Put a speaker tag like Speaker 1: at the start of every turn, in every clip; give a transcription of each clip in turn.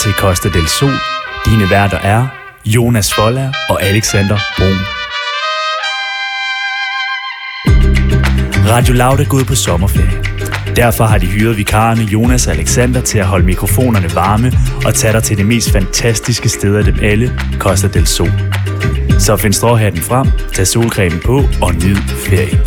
Speaker 1: til Costa del Sol. Dine værter er Jonas Folla og Alexander Brun. Radio Loud er gået på sommerferie. Derfor har de hyret vikarerne Jonas og Alexander til at holde mikrofonerne varme og tage dig til det mest fantastiske sted af dem alle, Costa del Sol. Så find stråhatten frem, tag solcremen på og nyd ferien.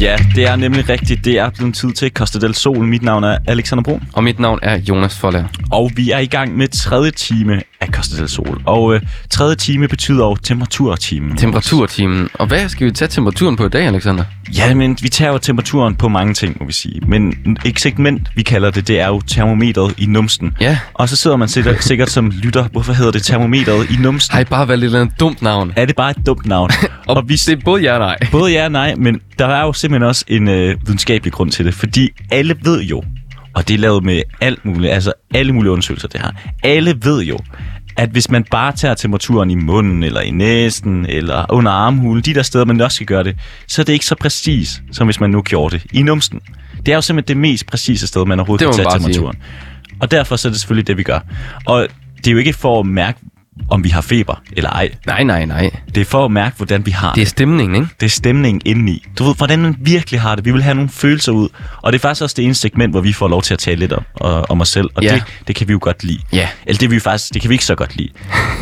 Speaker 2: Ja, det er nemlig rigtigt. Det er blevet tid til Costa del Sol. Mit navn er Alexander Brun,
Speaker 3: Og mit navn er Jonas Forlager.
Speaker 2: og vi er i gang med tredje time af Costa del Sol. Og øh, tredje time betyder jo temperaturtimen.
Speaker 3: Temperaturtimen. Og hvad skal vi tage temperaturen på i dag, Alexander?
Speaker 2: Ja, men vi tager jo temperaturen på mange ting, må vi sige. Men et segment, vi kalder det, det er jo termometret i numsten.
Speaker 3: Ja.
Speaker 2: Og så sidder man sikkert, sikkert som lytter, hvorfor hedder det termometret i numsten?
Speaker 3: Har I bare valgt et eller andet dumt navn?
Speaker 2: Er det bare et dumt navn?
Speaker 3: Og, og vi... det er både jer og nej.
Speaker 2: Både ja og nej, men der er jo simpelthen også en øh, videnskabelig grund til det, fordi alle ved jo, og det er lavet med alt muligt, altså alle mulige undersøgelser det her, alle ved jo, at hvis man bare tager temperaturen i munden, eller i næsen, eller under armhulen, de der steder, man også skal gøre det, så er det ikke så præcis, som hvis man nu gjorde det i numsten. Det er jo simpelthen det mest præcise sted, man overhovedet
Speaker 3: Det må
Speaker 2: kan
Speaker 3: man
Speaker 2: tage
Speaker 3: bare sige.
Speaker 2: temperaturen. Og derfor så er det selvfølgelig det, vi gør. Og det er jo ikke for at mærke, om vi har feber eller ej.
Speaker 3: Nej, nej, nej.
Speaker 2: Det er for at mærke, hvordan vi har
Speaker 3: Det er stemningen, ikke?
Speaker 2: det er stemningen indeni. Du ved, hvordan man virkelig har det. Vi vil have nogle følelser ud. Og det er faktisk også det eneste segment, hvor vi får lov til at tale lidt om, og, om os selv. Og
Speaker 3: Ja.
Speaker 2: det, det, kan vi jo godt lide.
Speaker 3: Ja.
Speaker 2: Eller det, er vi jo faktisk, det kan vi ikke så godt lide.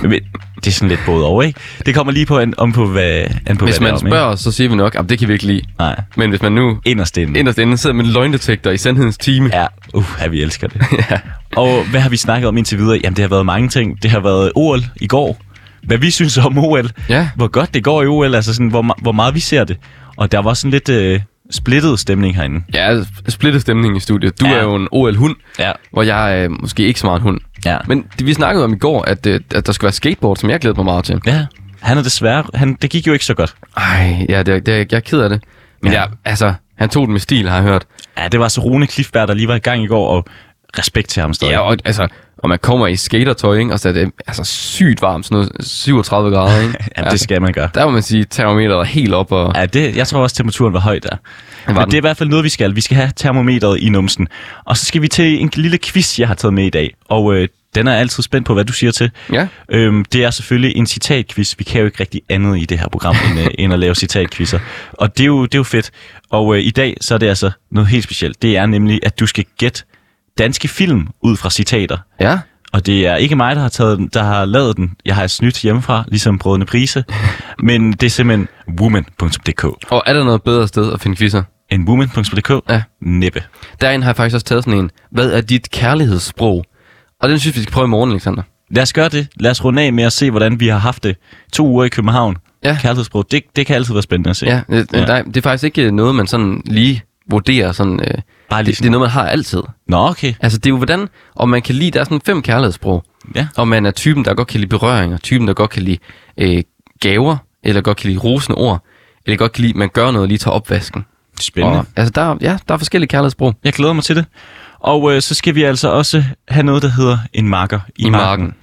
Speaker 2: Men men det er sådan lidt både over, ikke? Det kommer lige på, an, om på hvad, an på,
Speaker 3: Hvis
Speaker 2: hvad
Speaker 3: man
Speaker 2: det er om,
Speaker 3: spørger os, så siger vi nok, at det kan vi ikke lide.
Speaker 2: Ikke? Nej,
Speaker 3: Men hvis man nu
Speaker 2: inderst inde.
Speaker 3: inderst inde sidder med en løgndetektor i sandhedens time, ja.
Speaker 2: Ja, uh, ja, vi elsker det. ja. Og hvad har vi snakket om indtil videre? Jamen, det har været mange ting. Det har været OL i går. Hvad vi synes om OL.
Speaker 3: Ja.
Speaker 2: Hvor godt det går i OL. Altså, sådan, hvor, ma- hvor meget vi ser det. Og der var sådan lidt øh, splittet stemning herinde.
Speaker 3: ja splittet stemning i studiet. Du
Speaker 2: Ja.
Speaker 3: ja. er jo en OL-hund,
Speaker 2: Ja.
Speaker 3: hvor jeg øh, måske ikke så meget en hund.
Speaker 2: Ja.
Speaker 3: Men det, vi snakkede om i går, at, øh, at der skulle være skateboard, som jeg glæder mig meget til.
Speaker 2: Ja, han er desværre... Han, det gik jo ikke så godt.
Speaker 3: Ej, ja, det, det, jeg er ked af det. Men
Speaker 2: Ja.
Speaker 3: ja. jeg, altså, han tog den med stil, har jeg hørt.
Speaker 2: Ja, det var så Rune Klifberg, der lige var i gang i går, og respekt til ham stadig.
Speaker 3: Ja, og, altså, og man kommer i skatertøj, ikke? Og så er det altså, sygt varmt, sådan noget 37 grader, ikke?
Speaker 2: ja det
Speaker 3: altså,
Speaker 2: skal man gøre.
Speaker 3: Der må man sige, termometeret er helt op, og
Speaker 2: Ja, det, jeg tror også, temperaturen var høj der. Men
Speaker 3: den.
Speaker 2: det er i hvert fald noget, vi skal. Vi skal have termometret i numsen. Og så skal vi til en lille quiz, jeg har taget med i dag. Og øh, den er jeg altid spændt på, hvad du siger til.
Speaker 3: ja,
Speaker 2: Øhm, det er selvfølgelig en citatquiz. Vi kan jo ikke rigtig andet i det her program, end, øh, end at lave citatquizzer. Og det er jo, det er jo fedt. Og øh, i dag, så er det altså noget helt specielt. Det er nemlig, at du skal gætte danske film ud fra citater.
Speaker 3: ja,
Speaker 2: Og det er ikke mig, der har, taget den, der har lavet den. Jeg har snydt hjemmefra, ligesom Brødende Prise. Men det er simpelthen woman.dk.
Speaker 3: og er der noget bedre sted at finde quizzer?
Speaker 2: En woman.dk?
Speaker 3: Ja.
Speaker 2: Næppe.
Speaker 3: Derinde har jeg faktisk også taget sådan en, hvad er dit kærlighedssprog? Og den synes vi skal prøve i morgen, Alexander.
Speaker 2: Lad os gøre det. Lad os runde af med at se, hvordan vi har haft det. To uger i København.
Speaker 3: Ja.
Speaker 2: Kærlighedsbrug. Det, det kan altid være spændende at se.
Speaker 3: Ja, øh,
Speaker 2: Ja.
Speaker 3: ja. Der, det er faktisk ikke øh, noget, man sådan lige vurderer sådan... Øh,
Speaker 2: Bare lige
Speaker 3: det,
Speaker 2: sådan-
Speaker 3: det, er noget, man har altid.
Speaker 2: Nå, okay.
Speaker 3: Altså, det er jo hvordan, om man kan lide, der er sådan fem kærlighedssprog.
Speaker 2: Ja.
Speaker 3: Om man er typen, der godt kan lide berøring, og typen, der godt kan lide øh, gaver, eller godt kan lide rosende ord, eller godt kan lide, at man gør noget og lige tager opvasken.
Speaker 2: Spændende.
Speaker 3: Og, altså, der, er- ja, der er forskellige kærlighedssprog.
Speaker 2: Jeg glæder mig til det. Og øh, så skal vi altså også have noget, der hedder en marker i,
Speaker 3: I marken.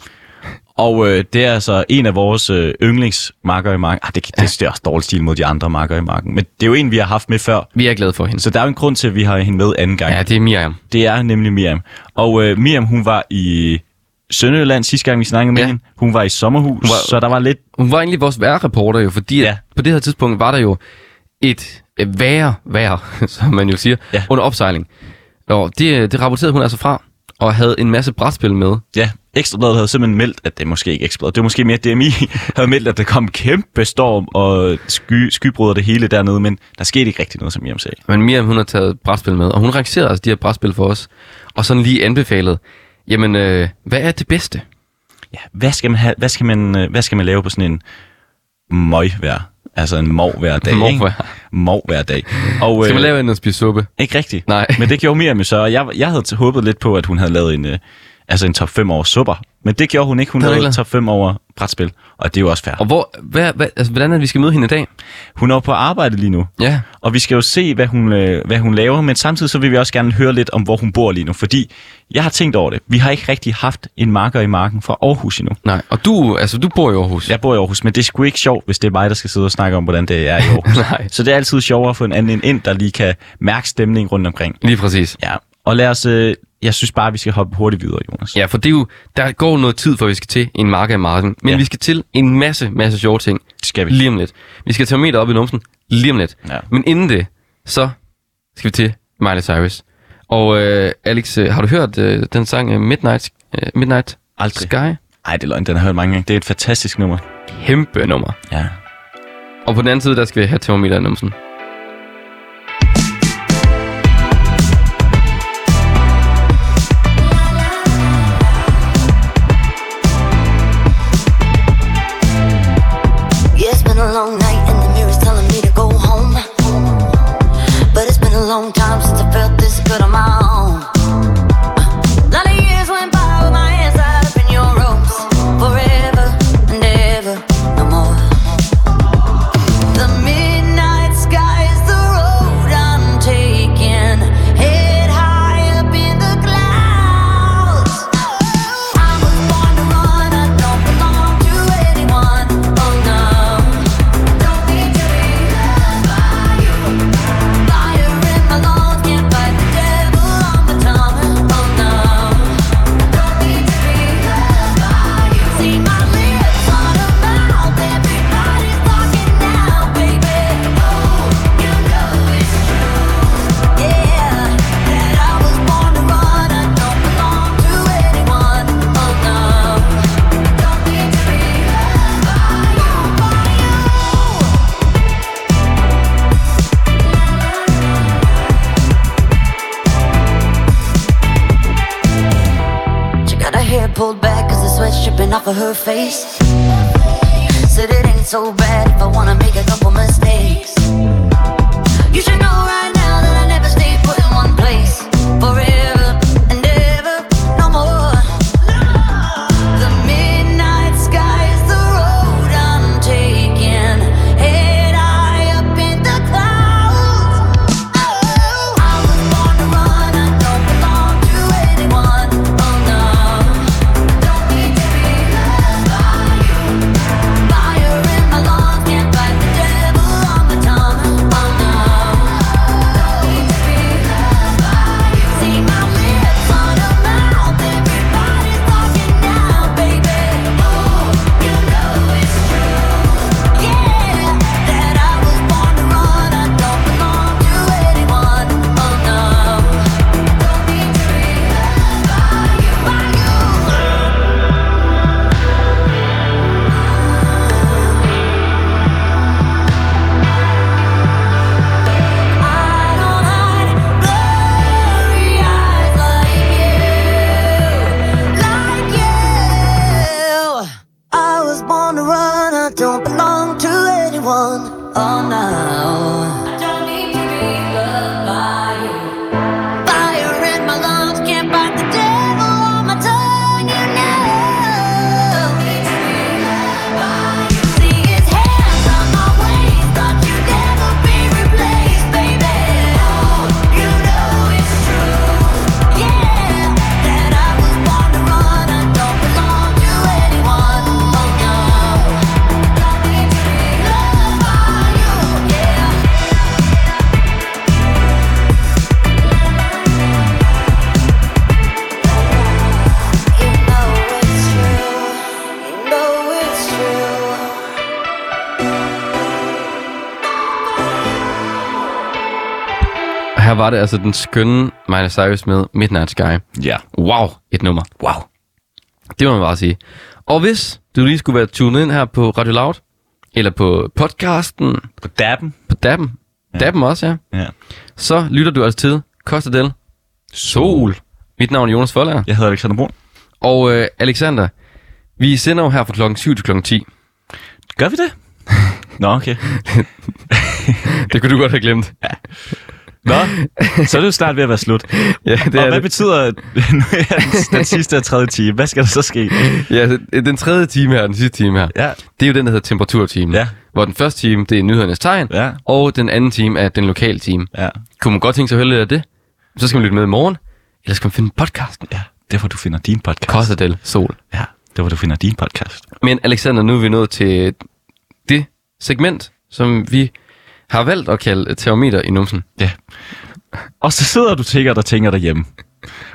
Speaker 2: Og øh, det er altså en af vores øh, yndlingsmarker i marken. Ah, det, det, det er også dårlig stil mod de andre marker i marken. Men det er jo en, vi har haft med før.
Speaker 3: Vi er glade for hende.
Speaker 2: Så der er jo en grund til, at vi har hende med anden gang.
Speaker 3: Ja,
Speaker 2: Ja.
Speaker 3: det er Miriam.
Speaker 2: Det er nemlig Miriam. Og øh, Miriam, hun var i Sønderjylland sidste gang, vi snakkede med ja.
Speaker 3: Ja.
Speaker 2: hende. Hun var i sommerhus,
Speaker 3: var-
Speaker 2: så der var lidt...
Speaker 3: Hun var egentlig vores vejrreporter jo, fordi
Speaker 2: Ja.
Speaker 3: ja. på det her tidspunkt var der jo et øh, værre vejr, som man jo siger,
Speaker 2: Ja.
Speaker 3: ja. under opsejling. Og det, øh, det rapporterede hun altså fra, og havde en masse brætspil med.
Speaker 2: Ja, Ekstrabladet havde simpelthen meldt, at det måske ikke Ekstrabladet, det var måske mere DMI, havde meldt, at der kom kæmpe storm og sky, skybrud og det hele dernede, men der skete ikke rigtig noget, som Miriam sagde.
Speaker 3: Men Miriam, hun har taget brætspil med, og hun rangerede altså de her brætspil for os, og sådan lige anbefalede, jamen, øh, hvad er det bedste?
Speaker 2: Ja, hvad skal man, have, hvad skal man, øh, hvad skal man lave på sådan en møgvær? Altså en mov hver dag, ikke?
Speaker 3: Møgvejr.
Speaker 2: Mov hver dag. Og,
Speaker 3: Skal
Speaker 2: øh,
Speaker 3: man lave en og spise suppe?
Speaker 2: Ikke rigtigt.
Speaker 3: Nej.
Speaker 2: Men det gjorde Miriam jo så, og jeg, jeg havde t- håbet lidt på, at hun havde lavet en... øh, altså en top 5 over supper. Men det gjorde hun ikke. Hun
Speaker 3: Det er
Speaker 2: lavede
Speaker 3: rigtigt.
Speaker 2: top 5 over brætspil, og det er jo også fair.
Speaker 3: Og hvor, hvad, hvad, altså, hvordan er det, vi skal møde hende i dag?
Speaker 2: Hun er jo på arbejde lige nu.
Speaker 3: Ja.
Speaker 2: Og vi skal jo se, hvad hun, øh, hvad hun laver, men samtidig så vil vi også gerne høre lidt om, hvor hun bor lige nu. Fordi jeg har tænkt over det. Vi har ikke rigtig haft en marker i marken fra Aarhus endnu.
Speaker 3: Nej, og du, altså, du bor i Aarhus.
Speaker 2: Jeg bor i Aarhus, men det er sgu ikke sjovt, hvis det er mig, der skal sidde og snakke om, hvordan det er i Aarhus.
Speaker 3: Nej.
Speaker 2: Så det er altid sjovere at få en anden ind, der lige kan mærke stemningen rundt omkring.
Speaker 3: Lige præcis.
Speaker 2: Ja, og lad os, øh, jeg synes bare, vi skal hoppe hurtigt videre, Jonas.
Speaker 3: Ja, for det er jo, der går noget tid, før vi skal til en marker i marken. Men
Speaker 2: Ja.
Speaker 3: ja. vi skal til en masse, masse sjove ting.
Speaker 2: Det skal vi.
Speaker 3: Lige om lidt. Vi skal tage meter op i numsen. Lige om lidt.
Speaker 2: Ja.
Speaker 3: Men inden det, så skal vi til Miley Cyrus. Og øh, Alex, øh, har du hørt øh, den sang øh, Midnight, øh, Midnight
Speaker 2: Aldrig.
Speaker 3: Sky?
Speaker 2: Ej, det er løgn, den har jeg hørt mange gange. Det er et fantastisk nummer.
Speaker 3: Kæmpe nummer.
Speaker 2: Ja.
Speaker 3: Og på den anden side, der skal vi have termometer i numsen.
Speaker 4: Yeah, it's been a long night and the mirror's telling me to go home. But it's been a long time since I felt this good on my own. Lot of years went by with my hands tied up in your ropes. Forever and ever, no more. The midnight sky is the road I'm taking. Head high up in the clouds. I was born to run, I don't belong to anyone. Oh no. Don't need to be loved by you. Fire in my lungs, can't fight the devil on my tongue. Oh no. Don't need to be loved by you. See my lips on a mouth, everybody's talking now, baby. Oh, you know it's true. Yeah, that I was born to run, I don't belong to anyone. Oh no. Don't need to be loved by you. She got her hair pulled back cause the sweat's dripping off of her face. Said it ain't so bad if I wanna make a couple mistakes. You should know right now that I never stay put in one place forever and ever, no more. The midnight sky is the road I'm taking. Head high up in the clouds. Oh, I was born to run, I don't belong to anyone. Oh no, don't need to be loved by you. Fire in my lungs, can't fight the devil on my tongue. Oh no, don't need to be loved by you. See my lips on a mouth, everybody's talking now, baby. Oh, you know it's true. Yeah, that I was born to run, I don't belong to anyone. Oh no, don't need to be loved by you, by you. I don't hide blurry eyes like you, like you. I was born to run. I don't belong to anyone. Oh no. I don't need to be loved by you. Fire in my lungs can't fight the devil on my tongue. You know. Don't need to be loved by you. See his hands on my waist. Thought you'd never be replaced, baby. Oh, you know it's true. Yeah, that I was born to run. I don't belong to anyone. Oh no. Don't need to be loved by you. Yeah. You know it's true. You know it's true.
Speaker 3: Og her var det altså den skønne Miley Cyrus med Midnight Sky.
Speaker 2: Ja.
Speaker 3: Wow, et nummer.
Speaker 2: Wow.
Speaker 3: Det må man bare sige. Og hvis du lige skulle være tunet ind her på Radio Loud, eller på podcasten,
Speaker 2: På dappen.
Speaker 3: på dappen, ja. dappen også, ja,
Speaker 2: Ja.
Speaker 3: så lytter du altså til Costa del Sol. Mit navn er Jonas Forlager.
Speaker 2: Jeg hedder Alexander Brun.
Speaker 3: Og øh, Alexander, vi sender jo her fra klokken 7 til klokken 10.
Speaker 2: Gør vi det? Nå, okay.
Speaker 3: Det kunne du godt have glemt.
Speaker 2: Nå, så er det jo snart ved at være slut.
Speaker 3: Ja, det
Speaker 2: Det og
Speaker 3: er
Speaker 2: hvad det.
Speaker 3: det.
Speaker 2: betyder nu er den, den sidste og tredje time? Hvad skal der så ske?
Speaker 3: Ja, så den tredje time her, den sidste time her,
Speaker 2: Ja.
Speaker 3: det er jo den, der hedder temperaturtimen.
Speaker 2: Ja.
Speaker 3: Hvor den første time, det er nyhedernes tegn,
Speaker 2: Ja.
Speaker 3: og den anden time er den lokale time.
Speaker 2: Ja.
Speaker 3: Kunne man godt tænke sig at høre lidt af det? Så skal man lytte med i morgen, eller skal man finde podcasten?
Speaker 2: ja, det er, hvor du finder din podcast.
Speaker 3: Costa del Sol.
Speaker 2: Ja, det er, hvor du finder din podcast.
Speaker 3: Men Alexander, nu er vi nået til det segment, som vi har valgt at kalde termometer i numsen.
Speaker 2: Ja. Og så sidder du tænker der tænker derhjemme.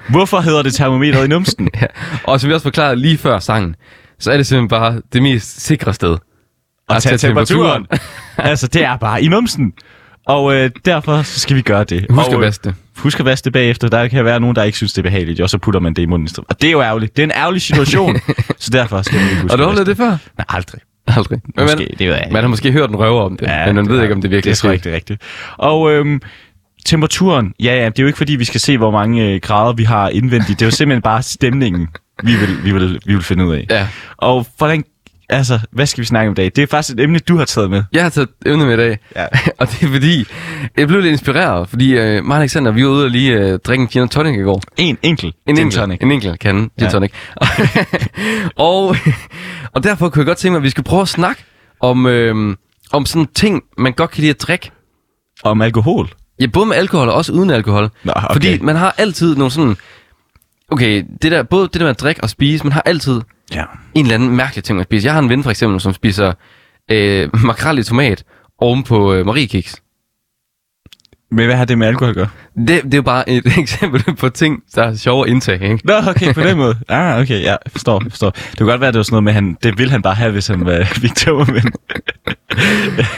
Speaker 2: Hvorfor hedder det termometeret i numsten?
Speaker 3: Ja. Og som vi også forklarede lige før sangen, så er det simpelthen bare det mest sikre sted.
Speaker 2: Og
Speaker 3: At
Speaker 2: tage
Speaker 3: tage
Speaker 2: temperaturen.
Speaker 3: temperaturen.
Speaker 2: altså, det er bare i numsen. Og øh, derfor så skal vi gøre det.
Speaker 3: Husk
Speaker 2: og, øh,
Speaker 3: at vaske det.
Speaker 2: Husk at vaske det bagefter. Der kan være nogen, der ikke synes, det er behageligt, og så putter man det i munden. i stedet. Og det er jo ærgerligt. Det er en ærgerlig situation. så derfor skal vi ikke huske
Speaker 3: Har du
Speaker 2: at
Speaker 3: oplevet
Speaker 2: vaske
Speaker 3: det før?
Speaker 2: Nej, aldrig.
Speaker 3: Aldrig. Men
Speaker 2: Måske,
Speaker 3: man,
Speaker 2: det ved jeg ikke.
Speaker 3: man har måske hørt en røver om det, ja, men man
Speaker 2: det
Speaker 3: ved
Speaker 2: er-
Speaker 3: ikke, om det virkelig
Speaker 2: det er rigtigt. Det er rigtigt. Og øhm, temperaturen, ja, ja, det er jo ikke fordi, vi skal se, hvor mange øh, grader vi har indvendigt. Det er jo simpelthen bare stemningen, vi vil, vi vil, vi vil finde ud af.
Speaker 3: Ja.
Speaker 2: Og hvordan, altså, hvad skal vi snakke om i dag? Det er faktisk et emne, du har taget med.
Speaker 3: Jeg har taget emne med i dag,
Speaker 2: Ja.
Speaker 3: og det er fordi, jeg blev lidt inspireret, fordi øh, mig og Alexander, vi var ude og lige øh, drikke en gin og tonic i går.
Speaker 2: En enkelt.
Speaker 3: En
Speaker 2: gin
Speaker 3: enkelt,
Speaker 2: tonic.
Speaker 3: En enkelt kan, gin
Speaker 2: Ja.
Speaker 3: tonic. og, og derfor kunne jeg godt tænke mig, at vi skal prøve at snakke om, øh, om sådan ting, man godt kan lide at drikke.
Speaker 2: Om alkohol.
Speaker 3: Ja, både med alkohol og også uden alkohol.
Speaker 2: Nå, okay.
Speaker 3: Fordi man har altid nogle sådan... Okay, det der, både det der med at drikke og spise, man har altid
Speaker 2: Ja.
Speaker 3: en eller anden mærkelig ting, man spiser. Jeg har en ven for eksempel, som spiser øh, makrel i tomat oven på øh, mariekiks.
Speaker 2: Men hvad har det med alkohol at gøre?
Speaker 3: Det, det er jo bare et eksempel på ting, der er sjovere indtag, ikke?
Speaker 2: Nå, okay, på den måde. Ah, okay, ja, forstår, forstår. Det kunne godt være, at det var sådan noget med, han, det ville han bare have, hvis han øh, var Big Tømmermænd.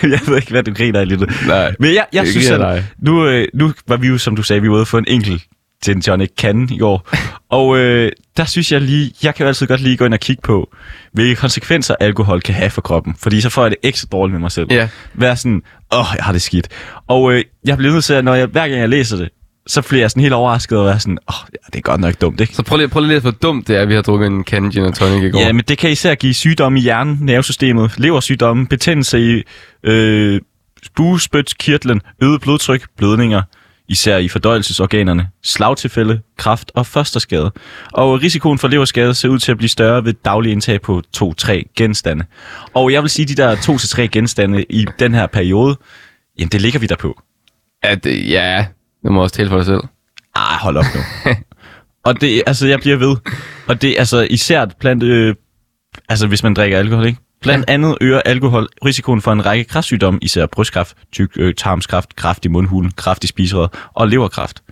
Speaker 2: jeg ved ikke, hvad du griner af lige nu.
Speaker 3: Nej,
Speaker 2: Men jeg, jeg
Speaker 3: det
Speaker 2: synes,
Speaker 3: griner
Speaker 2: at
Speaker 3: dig.
Speaker 2: nu, øh, nu var vi jo, som du sagde, vi var ude for en enkelt til en Johnny Cannon i går. Og øh, der synes jeg lige, jeg kan jo altid godt lige gå ind og kigge på, hvilke konsekvenser alkohol kan have for kroppen. Fordi så får jeg det ekstra dårligt med mig selv.
Speaker 3: Ja.
Speaker 2: Være sådan, åh, oh, jeg har det skidt. Og øh, jeg bliver nødt til, at når jeg, hver gang jeg læser det, så bliver jeg sådan helt overrasket og er sådan, åh, oh, ja, det er godt nok dumt, ikke?
Speaker 3: Så prøv lige, prøv lige at læse, hvor dumt det er, at vi har drukket en kande gin og tonic i går.
Speaker 2: Ja, men det kan især give sygdomme i hjernen, nervesystemet, leversygdomme, betændelse i øh, buespytkirtlen, øget blodtryk, blødninger, især i fordøjelsesorganerne, slagtilfælde, kraft og fosterskade. Og risikoen for leverskade ser ud til at blive større ved daglig indtag på 2-3 genstande. Og jeg vil sige, at de der 2-3 genstande i den her periode, jamen det ligger vi der på.
Speaker 3: At, øh, ja, det må også tale for dig selv.
Speaker 2: Ah, hold op nu. og det, altså, jeg bliver ved. Og det, altså, især blandt, øh, altså, hvis man drikker alkohol, ikke? Blandt andet øger alkohol risikoen for en række kræftsygdomme, især brystkræft, tyk øh, tarmskræft, kræft i mundhulen, kræft i spiserøret og leverkræft.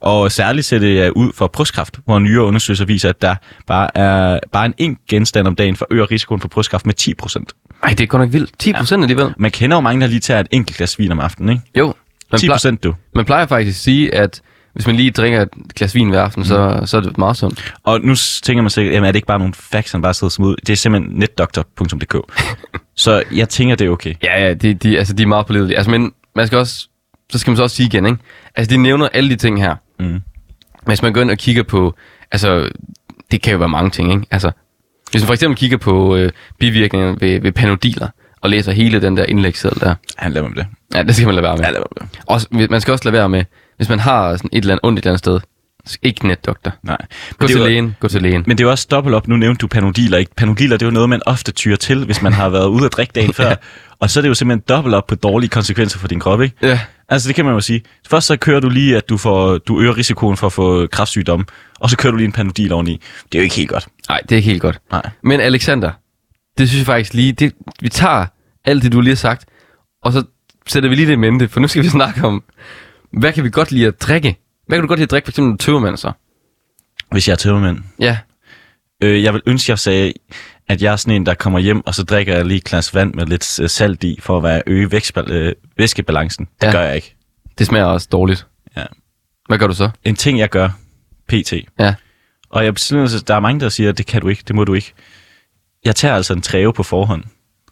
Speaker 2: Og særligt ser det øh, ud for brystkræft, hvor nyere undersøgelser viser, at der bare er bare en enkelt genstand om dagen forøger risikoen for brystkræft med 10%.
Speaker 3: Ej, det er godt nok vildt. 10 procent alligevel.
Speaker 2: Man kender jo mange, der lige tager et enkelt glas vin om aftenen, ikke?
Speaker 3: Jo. Man,
Speaker 2: 10
Speaker 3: plejer,
Speaker 2: procent, du.
Speaker 3: man plejer faktisk at sige, at hvis man lige drikker et glas vin hver aften, så, så er det meget sundt.
Speaker 2: Og nu s- tænker man sikkert, jamen er det ikke bare nogle facts, han bare sidder som ud? Det er simpelthen netdoktor.dk. så jeg tænker, det er okay.
Speaker 3: Ja, ja, de, de, altså, de er meget pålidelige. Altså, men man skal også, så skal man så også sige igen, ikke? Altså, de nævner alle de ting her.
Speaker 2: Mm.
Speaker 3: Hvis man går ind og kigger på, altså, det kan jo være mange ting, ikke? Altså, hvis man for eksempel kigger på øh, bivirkninger ved, ved panodiler, og læser hele den der indlægsseddel der.
Speaker 2: Han lader mig med det.
Speaker 3: Ja, det skal man lade være med.
Speaker 2: Han lader mig med det.
Speaker 3: Også, man skal også lade være med, hvis man har sådan et eller andet ondt et eller andet sted. Ikke netdoktor.
Speaker 2: Nej.
Speaker 3: Gå
Speaker 2: Men det,
Speaker 3: til
Speaker 2: er jo,
Speaker 3: lægen, gå til lægen.
Speaker 2: men det er jo også dobbelt op. Nu nævnte du panodiler, ikke? Panodiler, det er jo noget, man ofte tyrer til, hvis man har været ude at drikke dagen før. Og så er det jo simpelthen dobbelt op på dårlige konsekvenser for din krop, ikke?
Speaker 3: Ja.
Speaker 2: Altså, det kan man jo sige. Først så kører du lige, at du, får, du øger risikoen for at få kræftsygdomme, og så kører du lige en panodil oveni. Det er jo ikke helt godt.
Speaker 3: Nej, det er ikke helt godt.
Speaker 2: Nej.
Speaker 3: Men Alexander, det synes jeg faktisk lige, det, vi tager alt det, du lige har sagt, og så sætter vi lige det i mente, for nu skal vi snakke om, hvad kan vi godt lide at drikke? Hvad kan du godt lide at drikke, for eksempel tøvermand så?
Speaker 2: Hvis jeg er tømmermand,
Speaker 3: Ja,
Speaker 2: Øh, jeg vil ønske, jeg sagde, at jeg er sådan en, der kommer hjem, og så drikker jeg lige et glas vand med lidt øh, salt i, for at være, øge vækstbal- øh, væskebalancen. Det ja.
Speaker 3: Ja.
Speaker 2: gør jeg ikke.
Speaker 3: det smager også dårligt.
Speaker 2: Ja.
Speaker 3: Hvad gør du så?
Speaker 2: En ting, jeg gør, pt.
Speaker 3: Ja.
Speaker 2: Og jeg, sådan, altså, der er mange, der siger, at det kan du ikke, det må du ikke. Jeg tager altså en træve på forhånd.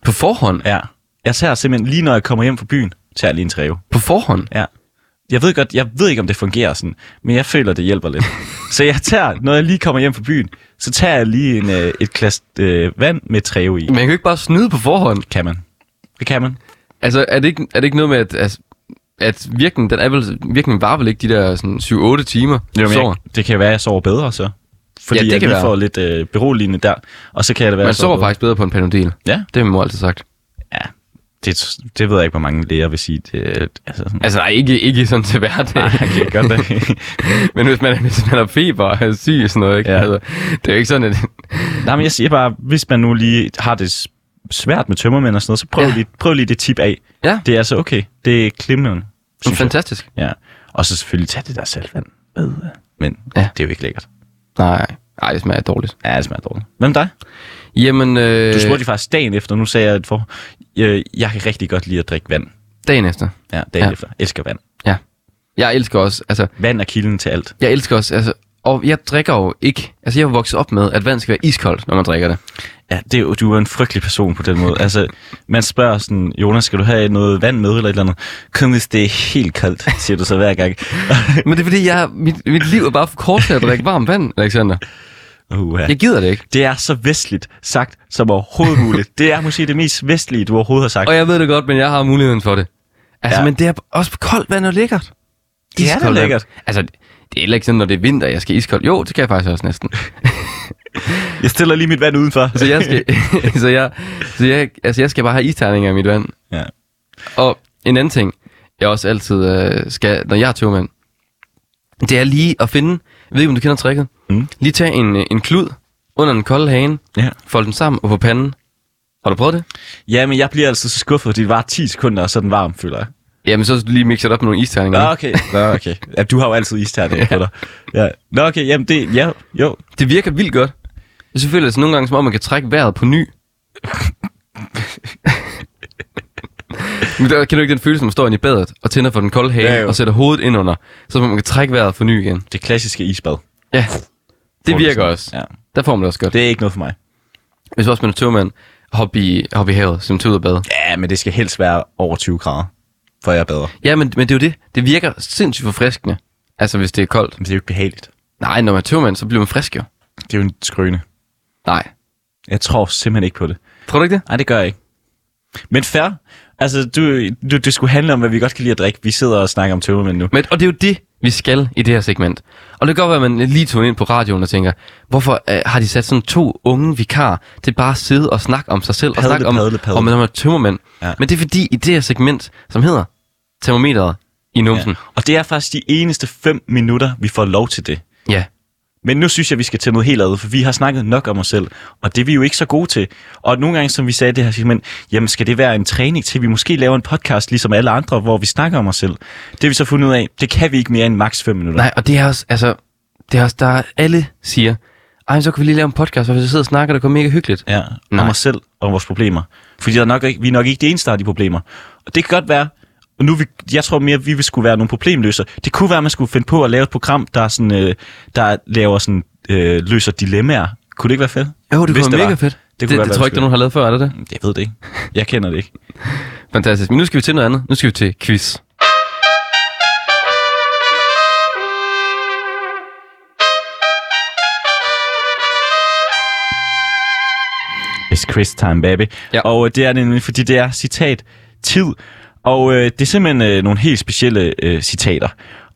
Speaker 3: På forhånd?
Speaker 2: Ja. Jeg tager simpelthen, lige når jeg kommer hjem fra byen, tager jeg lige en træve.
Speaker 3: På forhånd?
Speaker 2: Ja. Jeg ved godt, jeg ved ikke, om det fungerer sådan, men jeg føler, det hjælper lidt. så jeg tager, når jeg lige kommer hjem fra byen, så tager jeg lige en, øh, et glas øh, vand med træve i.
Speaker 3: Man kan jo ikke bare snyde på forhånd.
Speaker 2: Kan man. Det kan man.
Speaker 3: Altså, er det ikke, er det ikke noget med, at altså, at virkningen, den er vel, virkningen var vel ikke de der sådan 7-8 timer,
Speaker 2: Jo,
Speaker 3: du
Speaker 2: men
Speaker 3: sover.
Speaker 2: jeg, det kan være, at jeg sover bedre så. Fordi
Speaker 3: Ja, det
Speaker 2: jeg
Speaker 3: kan
Speaker 2: lige
Speaker 3: være.
Speaker 2: får lidt øh, beroligende der, og så kan det være, at
Speaker 3: Man
Speaker 2: jeg
Speaker 3: sover
Speaker 2: bedre.
Speaker 3: faktisk bedre på en panodil.
Speaker 2: Ja,
Speaker 3: Det har min mor altid sagt.
Speaker 2: ja. Det, det ved jeg ikke, hvor mange læger vil sige. Det, altså, sådan,
Speaker 3: Altså, nej, ikke, ikke sådan til hverdag.
Speaker 2: nej, jeg kan godt det.
Speaker 3: men hvis man, hvis man har feber og er syg og sådan noget, ikke?
Speaker 2: Ja.
Speaker 3: Ja. Altså, det er jo ikke sådan, at...
Speaker 2: Nej, men jeg siger bare, hvis man nu lige har det s- svært med tømmermænd og sådan noget, så prøv, ja.
Speaker 3: Ja.
Speaker 2: lige, prøv lige det tip af.
Speaker 3: Ja.
Speaker 2: Det er altså okay. Det er klimmen.
Speaker 3: Fantastisk.
Speaker 2: Ja. Og så selvfølgelig tage det der saltvand med. Men ja.
Speaker 3: Ja.
Speaker 2: det er jo ikke lækkert.
Speaker 3: Nej, nej, det smager dårligt.
Speaker 2: Ja, det smager dårligt. Hvem dig?
Speaker 3: Jamen, øh,
Speaker 2: Du spurgte øh. faktisk dagen efter, nu sagde jeg et for. Øh, jeg kan rigtig godt lide at drikke vand.
Speaker 3: dagen efter.
Speaker 2: Ja, dagen ja.
Speaker 3: Ja.
Speaker 2: efter. Elsker vand.
Speaker 3: Ja. Jeg elsker også, altså,
Speaker 2: Vand er kilden til alt.
Speaker 3: jeg elsker også, altså, og jeg drikker jo ikke, altså jeg er jo vokset op med, at vand skal være iskoldt, når man drikker det.
Speaker 2: Ja, det er jo, du er en frygtelig person på den måde. altså, man spørger sådan, Jonas, skal du have noget vand med eller et eller andet? Kun hvis det er helt koldt, siger du så hver gang.
Speaker 3: Men det er fordi, jeg, mit, mit liv er bare for kort til at drikke varmt vand, Alexander.
Speaker 2: uh,
Speaker 3: Jeg gider det ikke.
Speaker 2: Det er så vestligt sagt som overhovedet muligt. Det er måske det mest vestlige, du overhovedet har sagt.
Speaker 3: Og jeg ved det godt, men jeg har muligheden for det. Altså,
Speaker 2: Ja.
Speaker 3: ja. men det er også koldt vand er lækkert.
Speaker 2: Det er da
Speaker 3: Iskoldt vand.
Speaker 2: lækkert.
Speaker 3: Altså, det er heller ikke sådan, når det er vinter, jeg skal iskoldt. Jo, det kan jeg faktisk også næsten.
Speaker 2: Jeg stiller lige mit vand udenfor.
Speaker 3: Så Altså, jeg skal, så jeg, så jeg, altså jeg skal bare have isterninger i mit vand.
Speaker 2: Ja.
Speaker 3: Og en anden ting, jeg også altid øh, skal, når jeg er tøvmand, det er lige at finde, jeg ved ikke, om du kender tricket,
Speaker 2: Mm.
Speaker 3: lige tage en, øh, en klud under den kolde hane,
Speaker 2: Ja.
Speaker 3: folde den sammen og på panden. Har du prøvet det?
Speaker 2: ja, men jeg bliver altid så skuffet, fordi det var 10 sekunder, og så er den varm, føler jeg.
Speaker 3: Jamen, så skal du lige mixe det op med nogle isterninger.
Speaker 2: Nå, okay. Nå, okay. Ja, du har jo altid isterninger ja. på dig. Ja. Nå, okay. Jamen, det... Ja, jo.
Speaker 3: Det virker vildt godt. Jeg synes selvfølgelig, altså nogle gange, som om man kan trække vejret på ny. Men der kan du ikke den følelse, når man står inde i badet og tænder for den kolde hale
Speaker 2: Ja, jo.
Speaker 3: og sætter hovedet ind under, så man kan trække vejret for ny igen.
Speaker 2: Det klassiske isbad.
Speaker 3: Ja, det
Speaker 2: Får
Speaker 3: virker
Speaker 2: sådan.
Speaker 3: også.
Speaker 2: Ja.
Speaker 3: Der får man det også godt.
Speaker 2: Det er ikke noget for mig.
Speaker 3: Hvis også man er tøvmand, hop i, hop i havet, som tager ud og bade.
Speaker 2: Ja, men det skal helst være over 20 grader, for jeg bader.
Speaker 3: Ja, men, men det er jo det. Det virker sindssygt forfriskende. Altså, hvis det er koldt.
Speaker 2: Men det er jo ikke behageligt.
Speaker 3: Nej, når man er tøvmand, så bliver man frisk jo.
Speaker 2: Det er jo en skrøne.
Speaker 3: Nej.
Speaker 2: Jeg tror simpelthen ikke på det.
Speaker 3: Tror du ikke det?
Speaker 2: Nej, det gør jeg ikke. Men fair. Altså, du, du, det skulle handle om, hvad vi godt kan lide at drikke. Vi sidder og snakker om tømmermænd nu.
Speaker 3: Men, og det er jo det, vi skal i det her segment. Og det kan godt være, at man lige tog ind på radioen og tænker, hvorfor øh, har de sat sådan to unge vikar til bare at sidde og snakke om sig selv
Speaker 2: Padle,
Speaker 3: og snakke om,
Speaker 2: padle, padle.
Speaker 3: om, om, om tømmermænd.
Speaker 2: Ja.
Speaker 3: Ja. Men det er fordi, i det her segment, som hedder termometeret i numsen.
Speaker 2: Ja. Mm. Og det er faktisk de eneste 5 minutter, vi får lov til det.
Speaker 3: Ja. ja.
Speaker 2: Men nu synes jeg, vi skal til noget helt andet, for vi har snakket nok om os selv, og det er vi jo ikke så gode til. Og nogle gange, som vi sagde i det her segment, jamen skal det være en træning til, at vi måske laver en podcast, ligesom alle andre, hvor vi snakker om os selv. Det har vi så fundet ud af, det kan vi ikke mere end maks 5 minutter.
Speaker 3: Nej, og det er også, altså, det er også, der alle siger, ej, men så kan vi lige lave en podcast, hvor vi sidder og snakker, det går mega hyggeligt.
Speaker 2: Ja, om
Speaker 3: Nej.
Speaker 2: os selv og om vores problemer. Fordi der er nok ikke, vi er nok ikke de eneste, der har de problemer. Og det kan godt være, og nu er vi, jeg tror mere, at vi vil skulle være nogle problemløsere. Det kunne være, at man skulle finde på at lave et program, der, er sådan, øh, der laver sådan, øh, løser dilemmaer. Kunne det ikke være fedt?
Speaker 3: Jo, det
Speaker 2: Hvis
Speaker 3: kunne være mega
Speaker 2: var.
Speaker 3: fedt.
Speaker 2: Det,
Speaker 3: Det,
Speaker 2: kunne
Speaker 3: det,
Speaker 2: det,
Speaker 3: det tror jeg ikke, der er
Speaker 2: nogen...
Speaker 3: nogen der har lavet før, er det det?
Speaker 2: Jeg ved det ikke. Jeg kender det ikke.
Speaker 3: Fantastisk. Men nu skal vi til noget andet. Nu skal vi til quiz.
Speaker 2: It's quiz time, baby. Ja.
Speaker 3: Ja.
Speaker 2: Og øh, det er det nemlig, fordi det er citat tid. Og øh, det er simpelthen øh, nogle helt specielle øh, citater.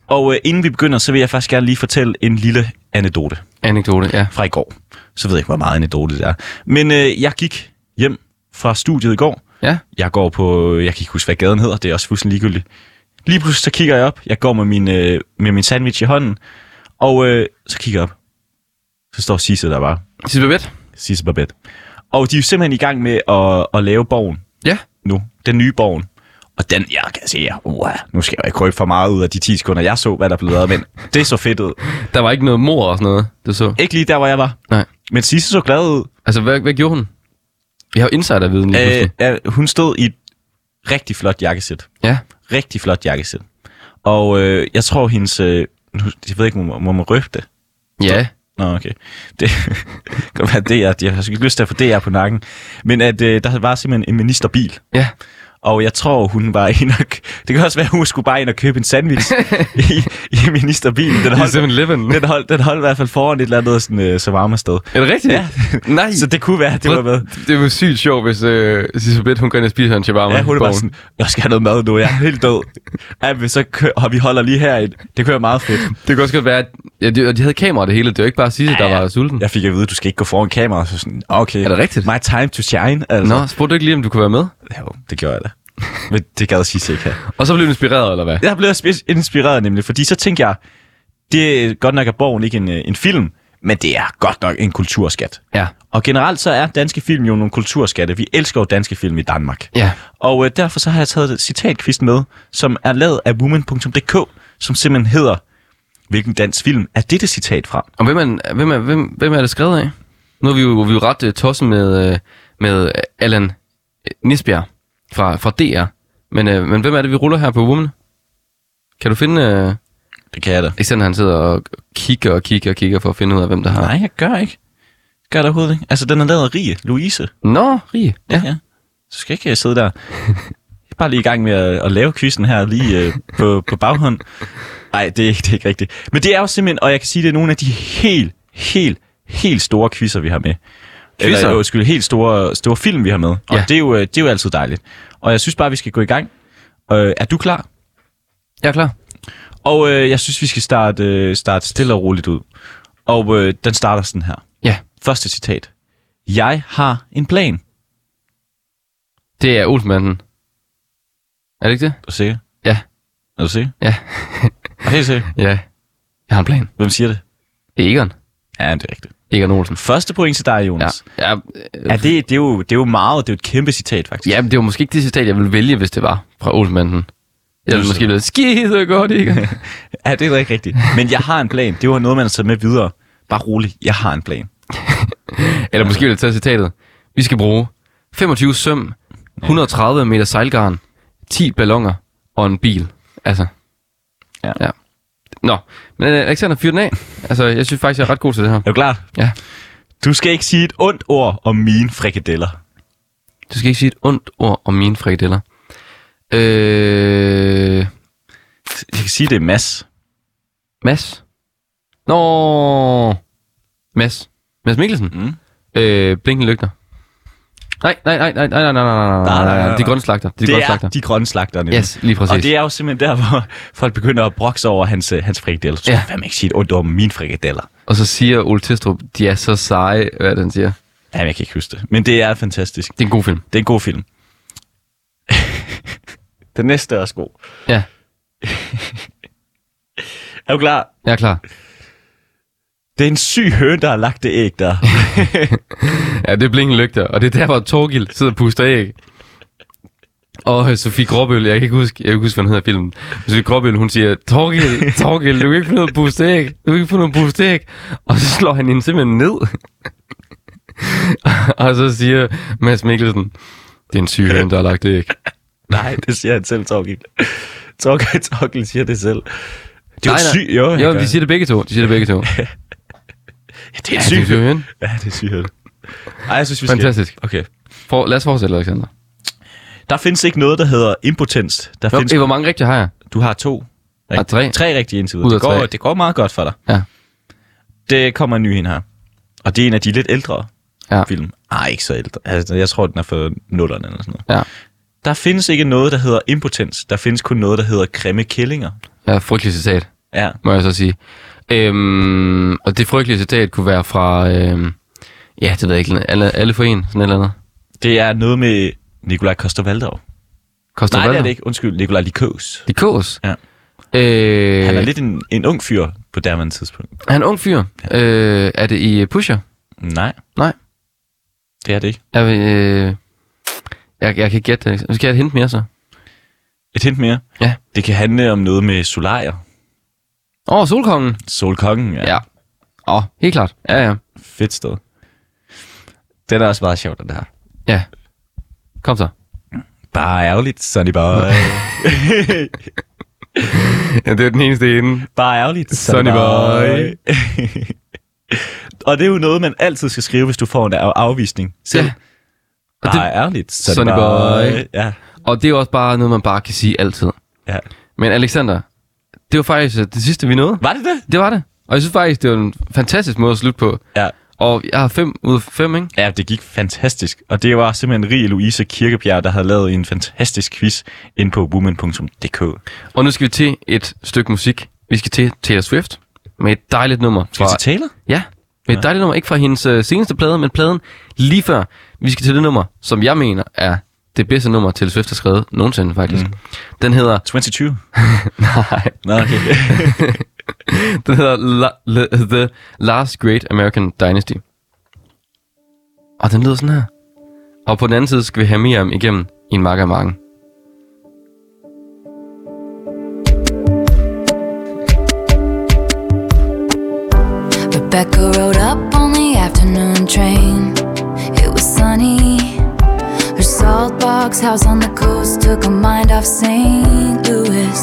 Speaker 2: Og øh, inden vi begynder, så vil jeg faktisk gerne lige fortælle en lille anekdote.
Speaker 3: Anekdote, ja.
Speaker 2: fra i går. Så ved jeg ikke, hvor meget anekdote det er. Men øh, jeg gik hjem fra studiet i går.
Speaker 3: Ja.
Speaker 2: Jeg går på, jeg kan ikke huske, hvad gaden hedder, det er også fuldstændig ligegyldigt. Lige pludselig så kigger jeg op, jeg går med min, øh, med min sandwich i hånden, og øh, så kigger jeg op. Så står Sisse der bare,
Speaker 3: Sidste babet?
Speaker 2: Sisse Babette. Og de er jo simpelthen i gang med at, at lave borgen
Speaker 3: Ja.
Speaker 2: nu, den nye borgen. Og den, jeg kan sige, uh, nu skal jeg jo ikke røbe for meget ud af de 10 sekunder, jeg så, hvad der blev lavet, men det så fedt ud.
Speaker 3: Der var ikke noget mor og sådan noget, du så.
Speaker 2: Ikke lige der, hvor jeg var,
Speaker 3: Nej.
Speaker 2: men Sisse så glad ud,
Speaker 3: Altså, hvad, hvad gjorde hun? Vi har jo insiderviden lige
Speaker 2: Øh,
Speaker 3: pludselig.
Speaker 2: ja, hun stod i et rigtig flot jakkesæt.
Speaker 3: Ja.
Speaker 2: Rigtig flot jakkesæt. Og øh, jeg tror, hendes... Øh, nu- jeg ved ikke, om man må man røbe det.
Speaker 3: Ja.
Speaker 2: Nå, okay. Det kan godt være, det er, jeg har sgu ikke lyst til at få DR på nakken. Men at øh, der var simpelthen en ministerbil.
Speaker 3: Ja.
Speaker 2: Og jeg tror, hun var inde og... Det kan også være, hun skulle bare ind og købe en sandwich i, i ministerbilen. Den
Speaker 3: Det er
Speaker 2: holdt,
Speaker 3: 7-Eleven.
Speaker 2: den, holdt, den holdt i hvert fald foran et eller andet sådan, øh, shawarma sted.
Speaker 3: Er det rigtigt?
Speaker 2: Ja.
Speaker 3: Nej.
Speaker 2: Så det kunne være, at det var med.
Speaker 3: Det var sygt sjovt, hvis øh, Sisabeth, hun går ind og spiser en shawarma.
Speaker 2: Ja, hun er bare
Speaker 3: i borgen.
Speaker 2: sådan, jeg skal have noget mad nu, jeg er helt død. Ja, men så kø- og vi holder lige herind. Det kører meget fedt.
Speaker 3: Det kunne også godt være, at ja, de, og de havde kamera og det hele. Det var ikke bare Sisse, der var sulten.
Speaker 2: Jeg fik at vide, at du skal ikke gå foran kamera. Så sådan, okay.
Speaker 3: Mm. Er det rigtigt?
Speaker 2: My time to shine. Altså.
Speaker 3: Nå, spurgte du ikke lige, om du kunne være med?
Speaker 2: Jo, det gjorde jeg da. Men det gad Sisse ikke her.
Speaker 3: Og så blev du inspireret, eller hvad?
Speaker 2: Jeg blev sp- inspireret nemlig, fordi så tænkte jeg, det er godt nok er Borgen ikke en, øh, en film, men det er godt nok en kulturskat.
Speaker 3: Ja.
Speaker 2: Og generelt så er danske film jo nogle kulturskatte. Vi elsker jo danske film i Danmark.
Speaker 3: Ja.
Speaker 2: Og øh, derfor så har jeg taget et citatkvist med, som er lavet af woman.dk, som simpelthen hedder, hvilken dansk film er dette citat fra?
Speaker 3: Og hvem er, hvem er, hvem, hvem er det skrevet af? Nu er vi jo, vi er jo ret uh, tosset med, uh, med øh, Allan øh, Nisbjerg fra, fra DR. Men, uh, men hvem er det, vi ruller her på Woman? Kan du finde... Uh,
Speaker 2: Det kan jeg da.
Speaker 3: ikke sådan, at han sidder og kigger og kigger og kigger for at finde ud af, hvem der har...
Speaker 2: Nej, jeg gør ikke. Gør det overhovedet ikke. Altså, den er lavet af Rie, Louise.
Speaker 3: Nå, Rie.
Speaker 2: Ja. ja. Så skal jeg ikke øh, sidde der. Jeg er bare lige i gang med at, at lave quizzen her lige øh, på, på baghånd. Nej, det er, ikke, det er ikke rigtigt. Men det er jo simpelthen, og jeg kan sige, det er nogle af de helt, helt, helt store quizzer, vi har med.
Speaker 3: Quizzer?
Speaker 2: Eller, øh, undskyld, helt store, store film, vi har med. Og
Speaker 3: Ja.
Speaker 2: ja. det, er jo, øh, det er jo altid dejligt. Og jeg synes bare, vi skal gå i gang. Øh, er du klar?
Speaker 3: Jeg er klar.
Speaker 2: Og øh, jeg synes, vi skal starte, øh, starte stille og roligt ud. Og øh, den starter sådan her.
Speaker 3: Ja,
Speaker 2: Første citat. Jeg har en plan.
Speaker 3: det er Olsenmanden. Er det ikke det?
Speaker 2: Er du sikker?
Speaker 3: Ja,
Speaker 2: Er du sikker?
Speaker 3: ja,
Speaker 2: Er du helt sikker?
Speaker 3: ja. Jeg har en plan.
Speaker 2: Hvem siger det?
Speaker 3: Det er Egon.
Speaker 2: Ja, det er rigtigt.
Speaker 3: Egon Olsen.
Speaker 2: Første point til dig,
Speaker 3: Ja,
Speaker 2: Jonas.
Speaker 3: ja,
Speaker 2: Ja, ja det, det, er jo, det er jo meget, det er jo et kæmpe citat, faktisk.
Speaker 3: ja men det var måske ikke det citat, jeg ville vælge, hvis det var fra Olsenmanden. Jeg ville
Speaker 2: Du-
Speaker 3: måske blive skide godt, Egon.
Speaker 2: ja det er da ikke rigtigt. Men jeg har en plan. Det var noget, man har taget med videre. Bare rolig, jeg har en plan.
Speaker 3: Eller måske ville jeg tage citatet. Vi skal bruge 25 søm, 130 meter sejlgarn, 10 ballonger og en bil. Altså.
Speaker 2: Ja.
Speaker 3: ja. Nå, men øh, Alexander, fyr den af. Altså, jeg synes faktisk, jeg er ret god til det her.
Speaker 2: Er du klar?
Speaker 3: Ja.
Speaker 2: Du skal ikke sige et ondt ord om mine frikadeller.
Speaker 3: Du skal ikke sige et ondt ord om mine frikadeller. Øh...
Speaker 2: Jeg kan sige, det er Mads.
Speaker 3: Mads? Nå, Mads. Mads Mikkelsen?
Speaker 2: Mm.
Speaker 3: Øh, blinkende lygter. Nej, nej, nej, nej, nej, nej, nej, nej, nej, nej, nej,
Speaker 2: nej.
Speaker 3: det er grønslagter. Det er
Speaker 2: Det er
Speaker 3: grønslagter.
Speaker 2: de grønne slagter. nemlig.
Speaker 3: Yes, lige præcis.
Speaker 2: Og det er jo simpelthen der, hvor folk begynder at brokse over hans, øh, hans frikadeller. Så
Speaker 3: Ja.
Speaker 2: ja. hvad man ikke sige et ondt ord om mine frikadeller.
Speaker 3: Og så siger Ole Testrup, de er så seje, hvad er det, han siger.
Speaker 2: Jamen, jeg kan ikke huske det. Men det er fantastisk.
Speaker 3: Det er en god film.
Speaker 2: Det er en god film. Den næste er også god.
Speaker 3: Ja,
Speaker 2: Er du klar?
Speaker 3: jeg er klar.
Speaker 2: Det er en syg høne, der har lagt det æg der.
Speaker 3: Ja, det er blinken lygter, og det er der, hvor Torgild sidder og puster æg. Og øh, Sofie Gråbøl, jeg kan ikke huske, jeg kan ikke huske, hvad den hedder i filmen. Sofie Gråbøl, hun siger, Torgild, Torgild, du kan ikke få noget at puste æg. Du kan ikke få noget at puste æg. Og så slår han hende simpelthen ned. og så siger Mads Mikkelsen, det er en syg høn, der har lagt det æg.
Speaker 2: Nej, det siger han selv, Torgild. Torgild, Torgild siger det selv. Det er jo
Speaker 3: Nej, nej.
Speaker 2: syg, jo. han
Speaker 3: Jo,
Speaker 2: gør
Speaker 3: de
Speaker 2: det.
Speaker 3: siger det begge to. De siger det begge to.
Speaker 2: Ja, det er
Speaker 3: Ja,
Speaker 2: en
Speaker 3: det er
Speaker 2: syg
Speaker 3: en syg
Speaker 2: høne.
Speaker 3: høne.
Speaker 2: Ja, det er syg høne. Ej, jeg synes, vi skal...
Speaker 3: Fantastisk.
Speaker 2: Okay.
Speaker 3: For, lad os fortsætte, Alexander.
Speaker 2: Der findes ikke noget, der hedder impotens. Der
Speaker 3: Nå,
Speaker 2: findes...
Speaker 3: eh, hvor mange rigtige har jeg?
Speaker 2: Du har to.
Speaker 3: Ah, tre.
Speaker 2: Tre rigtige indtil
Speaker 3: Ud
Speaker 2: videre.
Speaker 3: af
Speaker 2: Det går,
Speaker 3: tre.
Speaker 2: det går meget godt for dig.
Speaker 3: Ja.
Speaker 2: Det kommer en ny ind her. Og det er en af de lidt ældre
Speaker 3: Ja.
Speaker 2: film. Ej, ikke så ældre. Altså, jeg tror, den er for nullerne eller sådan noget.
Speaker 3: Ja.
Speaker 2: Der findes ikke noget, der hedder impotens. Der findes kun noget, der hedder grimme kællinger.
Speaker 3: Ja, frygteligt citat,
Speaker 2: Ja.
Speaker 3: må jeg så sige. Øhm, og det frygtelige citat kunne være fra, øhm, ja, det ved jeg ikke, alle, alle for en, sådan et eller andet.
Speaker 2: Det er noget med Nikolaj koster Valdau.
Speaker 3: Koster
Speaker 2: Nej, det er
Speaker 3: Waldau.
Speaker 2: det ikke. Undskyld, Nikolaj Likøs.
Speaker 3: Det er Kås.
Speaker 2: Ja.
Speaker 3: Øh,
Speaker 2: Han er lidt en, en ung fyr på derværende tidspunkt.
Speaker 3: han er en ung fyr. Øh, er det i Pusher?
Speaker 2: Nej,
Speaker 3: Nej.
Speaker 2: det er det ikke.
Speaker 3: Jeg, vil, øh, jeg, jeg kan gætte det. Skal jeg hente mere så?
Speaker 2: Et hint mere.
Speaker 3: Ja.
Speaker 2: Det kan handle om noget med solarier.
Speaker 3: Åh, oh, Solkongen.
Speaker 2: Solkongen, ja.
Speaker 3: Ja. Åh, ja. oh, helt klart. Ja, ja.
Speaker 2: Fedt sted. Den er også meget sjov, den der.
Speaker 3: Ja. Kom så.
Speaker 2: Bare ærgerligt, Sonny Boy.
Speaker 3: Ja, det er den eneste ende.
Speaker 2: Bare ærgerligt,
Speaker 3: Sonny Boy.
Speaker 2: Og det er jo noget, man altid skal skrive, hvis du får en af- afvisning. Selv.
Speaker 3: Ja.
Speaker 2: Bare
Speaker 3: Og det-
Speaker 2: ærgerligt, Sonny,
Speaker 3: Sonny
Speaker 2: boy.
Speaker 3: Boy.
Speaker 2: Ja.
Speaker 3: Og det er jo også bare noget, man bare kan sige altid.
Speaker 2: Ja.
Speaker 3: Men Alexander, det var faktisk øh, det sidste, vi nåede.
Speaker 2: Var det det?
Speaker 3: Det var det. Og jeg synes faktisk, det var en fantastisk måde at slutte på.
Speaker 2: Ja.
Speaker 3: Og jeg har fem ud af fem, ikke?
Speaker 2: Ja, det gik fantastisk. Og det var simpelthen Rie Louise Kirkebjerg, der havde lavet en fantastisk quiz ind på woman.dk.
Speaker 3: Og nu skal vi til et stykke musik. Vi skal til Taylor Swift med et dejligt nummer.
Speaker 2: Skal vi
Speaker 3: fra-
Speaker 2: til Taylor?
Speaker 3: Ja, med et dejligt nummer. Ikke fra hendes øh, seneste plade, men pladen lige før. Vi skal til det nummer, som jeg mener er det bedste nummer, Taylor Swift har skrevet nogensinde, faktisk. Mm. Den hedder...
Speaker 2: 22?
Speaker 3: Nej,
Speaker 2: Nå, okay.
Speaker 3: den hedder La, La, The Last Great American Dynasty. Og den lyder sådan her. Og på den anden side skal vi have Miriam igennem i en marker marken.
Speaker 4: Rebecca rode up on the afternoon train. It was sunny. Her salt box house on the coast took her mind off St. Louis.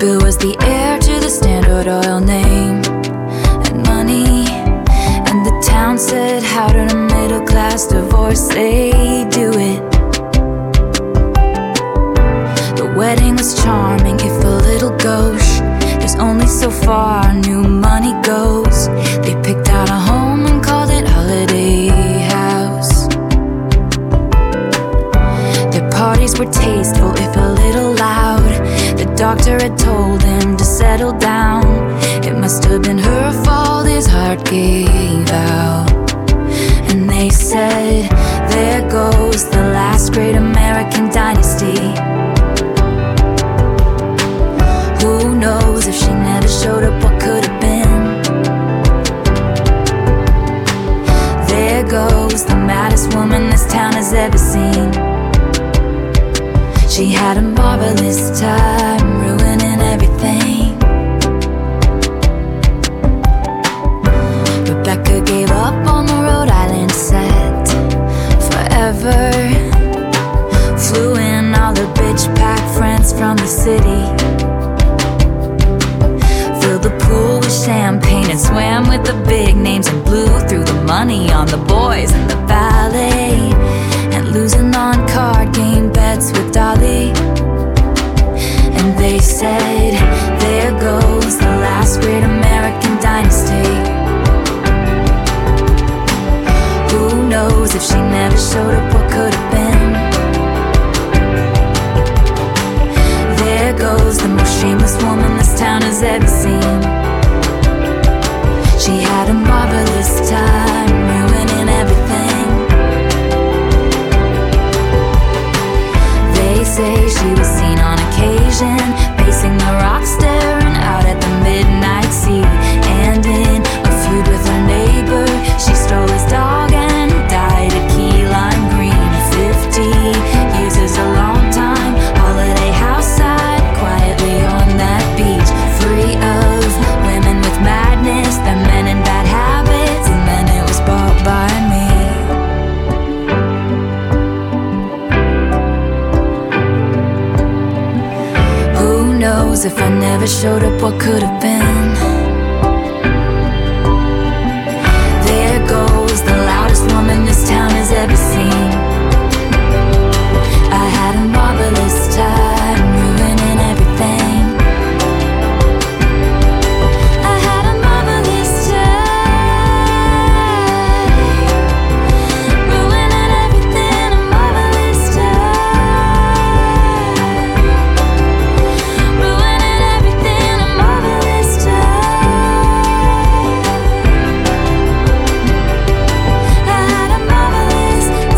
Speaker 4: Bill was the heir to the Standard Oil name and money. And the town said, How did a middle class divorce? They do it. The wedding was charming, if a little gauche. There's only so far new money goes. They picked out a home and called it Holiday House. Their parties were tasteful, if a little loud. The doctor had told him to settle down. It must have been her fault his heart gave out. And they said, There goes the last great American dynasty. Who knows if she never showed up, what could have been? There goes the maddest woman this town has ever seen. She had a marvelous time ruining everything. Rebecca gave up on the Rhode Island set forever. Flew in all her bitch pack friends from the city. Filled the pool with champagne and swam with the big names and blew through the money on the boys and the ballet. And losing on card game bets with Dolly. And they said, There goes the last great American dynasty. Who knows if she never showed up, what could have been? There goes the most shameless woman this town has ever seen. She had a marvelous time ruining everything. They say she was seen on occasion, pacing the rocks, staring out at the midnight sea. And in a feud with her neighbor, she stole his dog and died at Key Lime Green. Fifty years is a long time. Holiday house side, quietly on that beach, free of women with madness, the men in bad habits, and then it was bought by me. Who knows if I never showed up, what could have been? There goes the loudest woman this town has ever seen. I had a marvelous time ruining everything. I had a marvelous time. Ruining everything, a marvelous time. Ruining everything, a marvelous time. I had a marvelous time.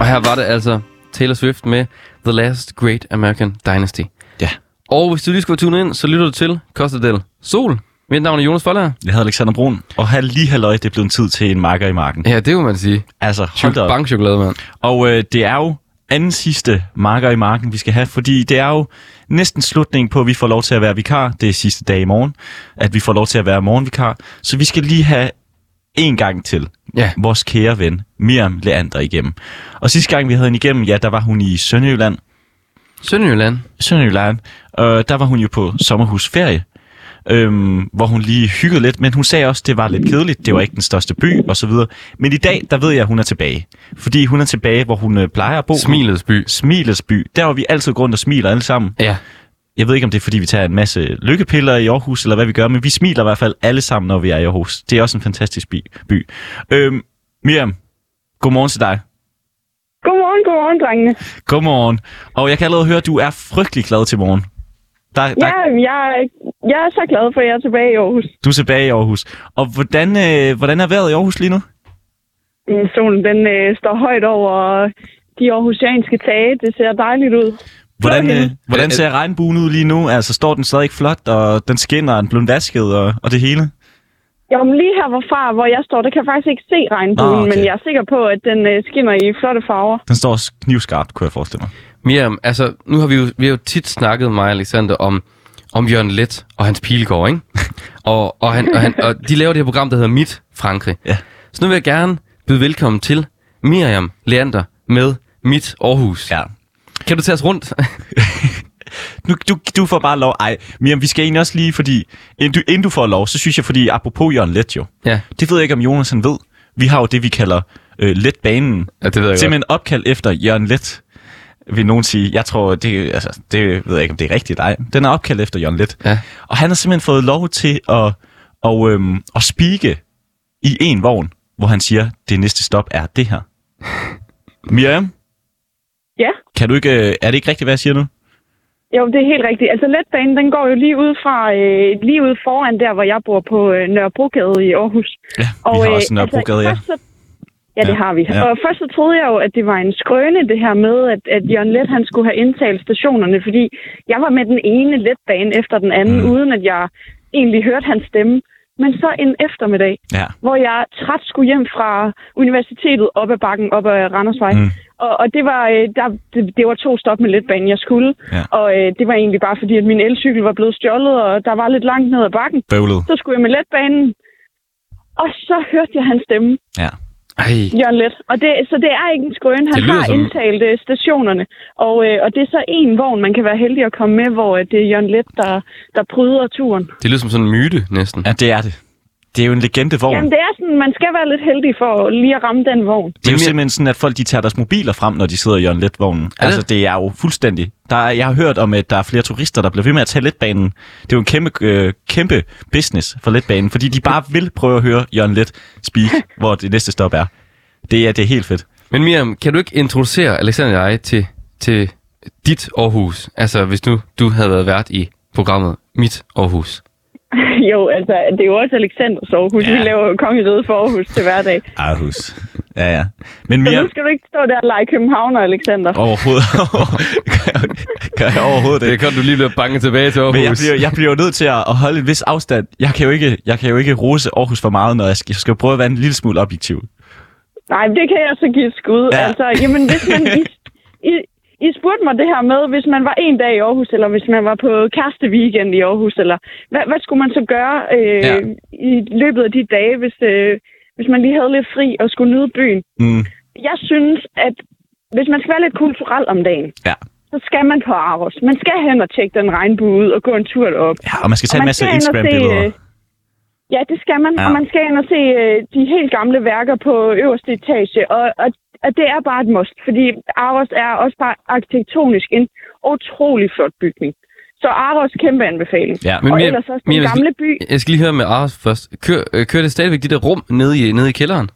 Speaker 3: Og her var det altså Taylor Swift med The Last Great American Dynasty.
Speaker 2: Ja.
Speaker 3: Og hvis du lige skulle tune ind, så lytter du til Costa del Sol. Mit navn er Jonas Folder.
Speaker 2: Jeg hedder Alexander Brun, og her lige halløj, det er blevet en tid til en marker i marken.
Speaker 3: Ja, det må man sige.
Speaker 2: Altså, hold da
Speaker 3: Chokolade.
Speaker 2: op.
Speaker 3: Bankchokolade, mand.
Speaker 2: Og øh, det er jo anden sidste marker i marken, vi skal have, fordi det er jo næsten slutningen på, at vi får lov til at være vikar. Det er sidste dag i morgen, at vi får lov til at være morgenvikar. Så vi skal lige have en gang til
Speaker 3: Ja.
Speaker 2: vores kære ven, Miriam Leander, igennem. Og sidste gang, vi havde hende igennem, ja, der var hun i Sønderjylland.
Speaker 3: Sønderjylland.
Speaker 2: Sønderjylland, og der var hun jo på sommerhusferie, øhm, hvor hun lige hyggede lidt, men hun sagde også, at det var lidt kedeligt, det var ikke den største by og så videre. Men i dag, der ved jeg, at hun er tilbage, fordi hun er tilbage, hvor hun øh, plejer at bo.
Speaker 3: Smilets by.
Speaker 2: Smilets by. Der, hvor vi altid går rundt og smiler alle sammen.
Speaker 3: Ja.
Speaker 2: Jeg ved ikke, om det er, fordi vi tager en masse lykkepiller i Aarhus, eller hvad vi gør, men vi smiler i hvert fald alle sammen, når vi er i Aarhus. Det er også en fantastisk by. by. Øhm, Miriam, godmorgen til dig.
Speaker 5: Godmorgen, godmorgen, drengene.
Speaker 2: Godmorgen. Og jeg kan allerede høre, at du er frygtelig glad til morgen. Der, der,
Speaker 5: Ja, jeg, er- jeg er så glad for, at jeg er tilbage i Aarhus.
Speaker 2: Du er tilbage i Aarhus. Og hvordan, øh, hvordan er vejret i Aarhus lige nu?
Speaker 5: Mm, Solen den, øh, står højt over de aarhusianske tage. Det ser dejligt ud.
Speaker 2: Hvordan,
Speaker 5: Flot
Speaker 2: øh,
Speaker 5: himmel.
Speaker 2: hvordan ser regnbuen ud lige nu? Altså, står den stadig flot, og den skinner, og den er blevet vasket, og, og det hele?
Speaker 5: Jo, men lige her hvorfra, hvor jeg står, der kan jeg faktisk ikke se regnbuen,
Speaker 2: Nå, okay.
Speaker 5: men jeg er sikker på, at den øh, skinner i flotte farver.
Speaker 2: Den står også knivskarpt, kunne jeg forestille mig.
Speaker 3: Miriam, altså, nu har vi jo, vi har jo tit snakket, mig og Alexander, om, om Jørgen Let og hans pilgård, ikke? og, og, han, og, han, og de laver det her program, der hedder Mit Frankrig.
Speaker 2: Ja.
Speaker 3: Så nu vil jeg gerne byde velkommen til Miriam Leander med Mit Aarhus.
Speaker 2: Ja.
Speaker 3: Kan du tage os rundt?
Speaker 2: Nu, du, du får bare lov. Ej, Miriam, vi skal egentlig også lige, fordi inden du, inden du får lov, så synes jeg, fordi apropos Jørgen Let jo.
Speaker 3: ja.
Speaker 2: Det ved jeg ikke, om Jonas han ved. Vi har jo det, vi kalder øh, Letbanen.
Speaker 3: ja, det ved jeg
Speaker 2: Simpelthen opkaldt efter Jørgen Let, vil nogen sige. Jeg tror, det, altså, det ved jeg ikke, om det er rigtigt. Nej, den er opkaldt efter Jørgen Let.
Speaker 3: Ja.
Speaker 2: Og han har simpelthen fået lov til at, og, øhm, at spike i en vogn, hvor han siger, det næste stop er det her. Miriam,
Speaker 5: Ja,
Speaker 2: kan du ikke, øh, er det ikke rigtigt, hvad jeg siger nu?
Speaker 5: jo, det er helt rigtigt. Altså, letbanen, den går jo lige ud fra, øh, lige ud foran der, hvor jeg bor på øh, Nørrebrogade i Aarhus.
Speaker 2: Ja, vi har også Nørrebrogade, ja.
Speaker 5: først så, øh, altså, ja, det
Speaker 2: Ja,
Speaker 5: har vi.
Speaker 2: ja.
Speaker 5: Ja. Og først så troede jeg jo, at det var en skrøne, det her med, at, at Jørgen Let, han skulle have indtalt stationerne, fordi jeg var med den ene letbane efter den anden,
Speaker 2: Mm.
Speaker 5: mm. uden at jeg egentlig hørte hans stemme. Men så en eftermiddag,
Speaker 2: Ja.
Speaker 5: hvor jeg træt skulle hjem fra universitetet op ad bakken, op ad Randersvej.
Speaker 2: Mm.
Speaker 5: Mm. Og, og det, var, øh, der, det, det var to stop med letbanen, jeg skulle.
Speaker 2: Ja.
Speaker 5: Og øh, det var egentlig bare fordi, at min elcykel var blevet stjålet, og der var lidt langt ned ad bakken.
Speaker 2: Bøvlet.
Speaker 5: Så skulle jeg med letbanen. Og så hørte jeg hans stemme,
Speaker 2: Ja.
Speaker 3: Ej,
Speaker 5: Jørgen Let. Og det, så det er ikke en skrøne. Han
Speaker 3: Det lyder
Speaker 5: har
Speaker 3: som-
Speaker 5: indtalt øh, stationerne. Og, øh, og det er så en vogn, man kan være heldig at komme med, hvor øh, det er Jørgen Let, der, der pryder turen.
Speaker 3: det lyder som sådan en myte, næsten.
Speaker 2: ja, det er det. Det er jo en legendevogn.
Speaker 5: Jamen, det er sådan, man skal være lidt heldig for lige at ramme den vogn.
Speaker 2: Det er jo
Speaker 3: Men jeg-
Speaker 2: simpelthen sådan, at folk de tager deres mobiler frem, når de sidder i Jørgen Let-vognen.
Speaker 3: det?
Speaker 2: Altså, det er jo fuldstændig... Der er, jeg har hørt om, at der er flere turister, der bliver ved med at tage letbanen. Det er jo en kæmpe, øh, kæmpe business for letbanen, fordi de bare vil prøve at høre Jørgen Let speak, hvor det næste stop er. Det er, det er helt fedt.
Speaker 3: Men Miriam, kan du ikke introducere Alexander og jeg til, til dit Aarhus? Altså, hvis nu du havde været vært i programmet Mit Aarhus.
Speaker 5: Jo, altså, det er jo også Alexanders Aarhus. Ja. Vi laver jo kongeriget for Aarhus til hverdag.
Speaker 2: Aarhus. Ja, ja. Men
Speaker 5: Så
Speaker 2: mere...
Speaker 5: nu skal du ikke stå der og lege Københavner, Alexander.
Speaker 2: Overhovedet. gør, jeg, gør jeg overhovedet
Speaker 3: Det
Speaker 2: ikke.
Speaker 3: er godt, du lige bliver banket tilbage til Aarhus.
Speaker 2: Men jeg bliver, jeg bliver jo nødt til at, at holde en vis afstand. Jeg kan, jo ikke, jeg kan jo ikke rose Aarhus for meget, når jeg skal, jeg skal jo prøve at være en lille smule objektiv.
Speaker 5: Nej, men det kan jeg så give et skud.
Speaker 2: Ja.
Speaker 5: Ja. Altså, jamen, hvis man... I, I, I spurgte mig det her med, hvis man var en dag i Aarhus, eller hvis man var på kæreste weekend i Aarhus, eller hvad, hvad skulle man så gøre øh,
Speaker 3: Ja.
Speaker 5: ja. i løbet af de dage, hvis, øh, hvis man lige havde lidt fri og skulle nyde byen?
Speaker 2: Mm.
Speaker 5: Jeg synes, at hvis man skal være lidt kulturel om dagen,
Speaker 2: Ja.
Speaker 5: så skal man på Aros. Man skal hen og tjekke den regnbue ud og gå en tur derop.
Speaker 2: Ja, og man skal tage
Speaker 5: Og
Speaker 2: en
Speaker 5: man
Speaker 2: masse
Speaker 5: skal ind og se,
Speaker 2: Instagram-billeder.
Speaker 5: øh, Ja, det skal man.
Speaker 2: Ja.
Speaker 5: Ja. Og man skal ind og se øh, de helt gamle værker på øverste etage. Og, og, og det er bare et must, fordi Aros er også bare arkitektonisk en utrolig flot bygning. Så Aros kæmpe anbefaling.
Speaker 2: Ja.
Speaker 3: Men
Speaker 5: og
Speaker 3: Miriam-
Speaker 5: ellers også den
Speaker 3: Miriam, jeg skal-
Speaker 5: gamle by.
Speaker 3: Jeg skal lige høre med Aros først. Kør, øh, kører det stadigvæk de der rum nede i, nede i kælderen?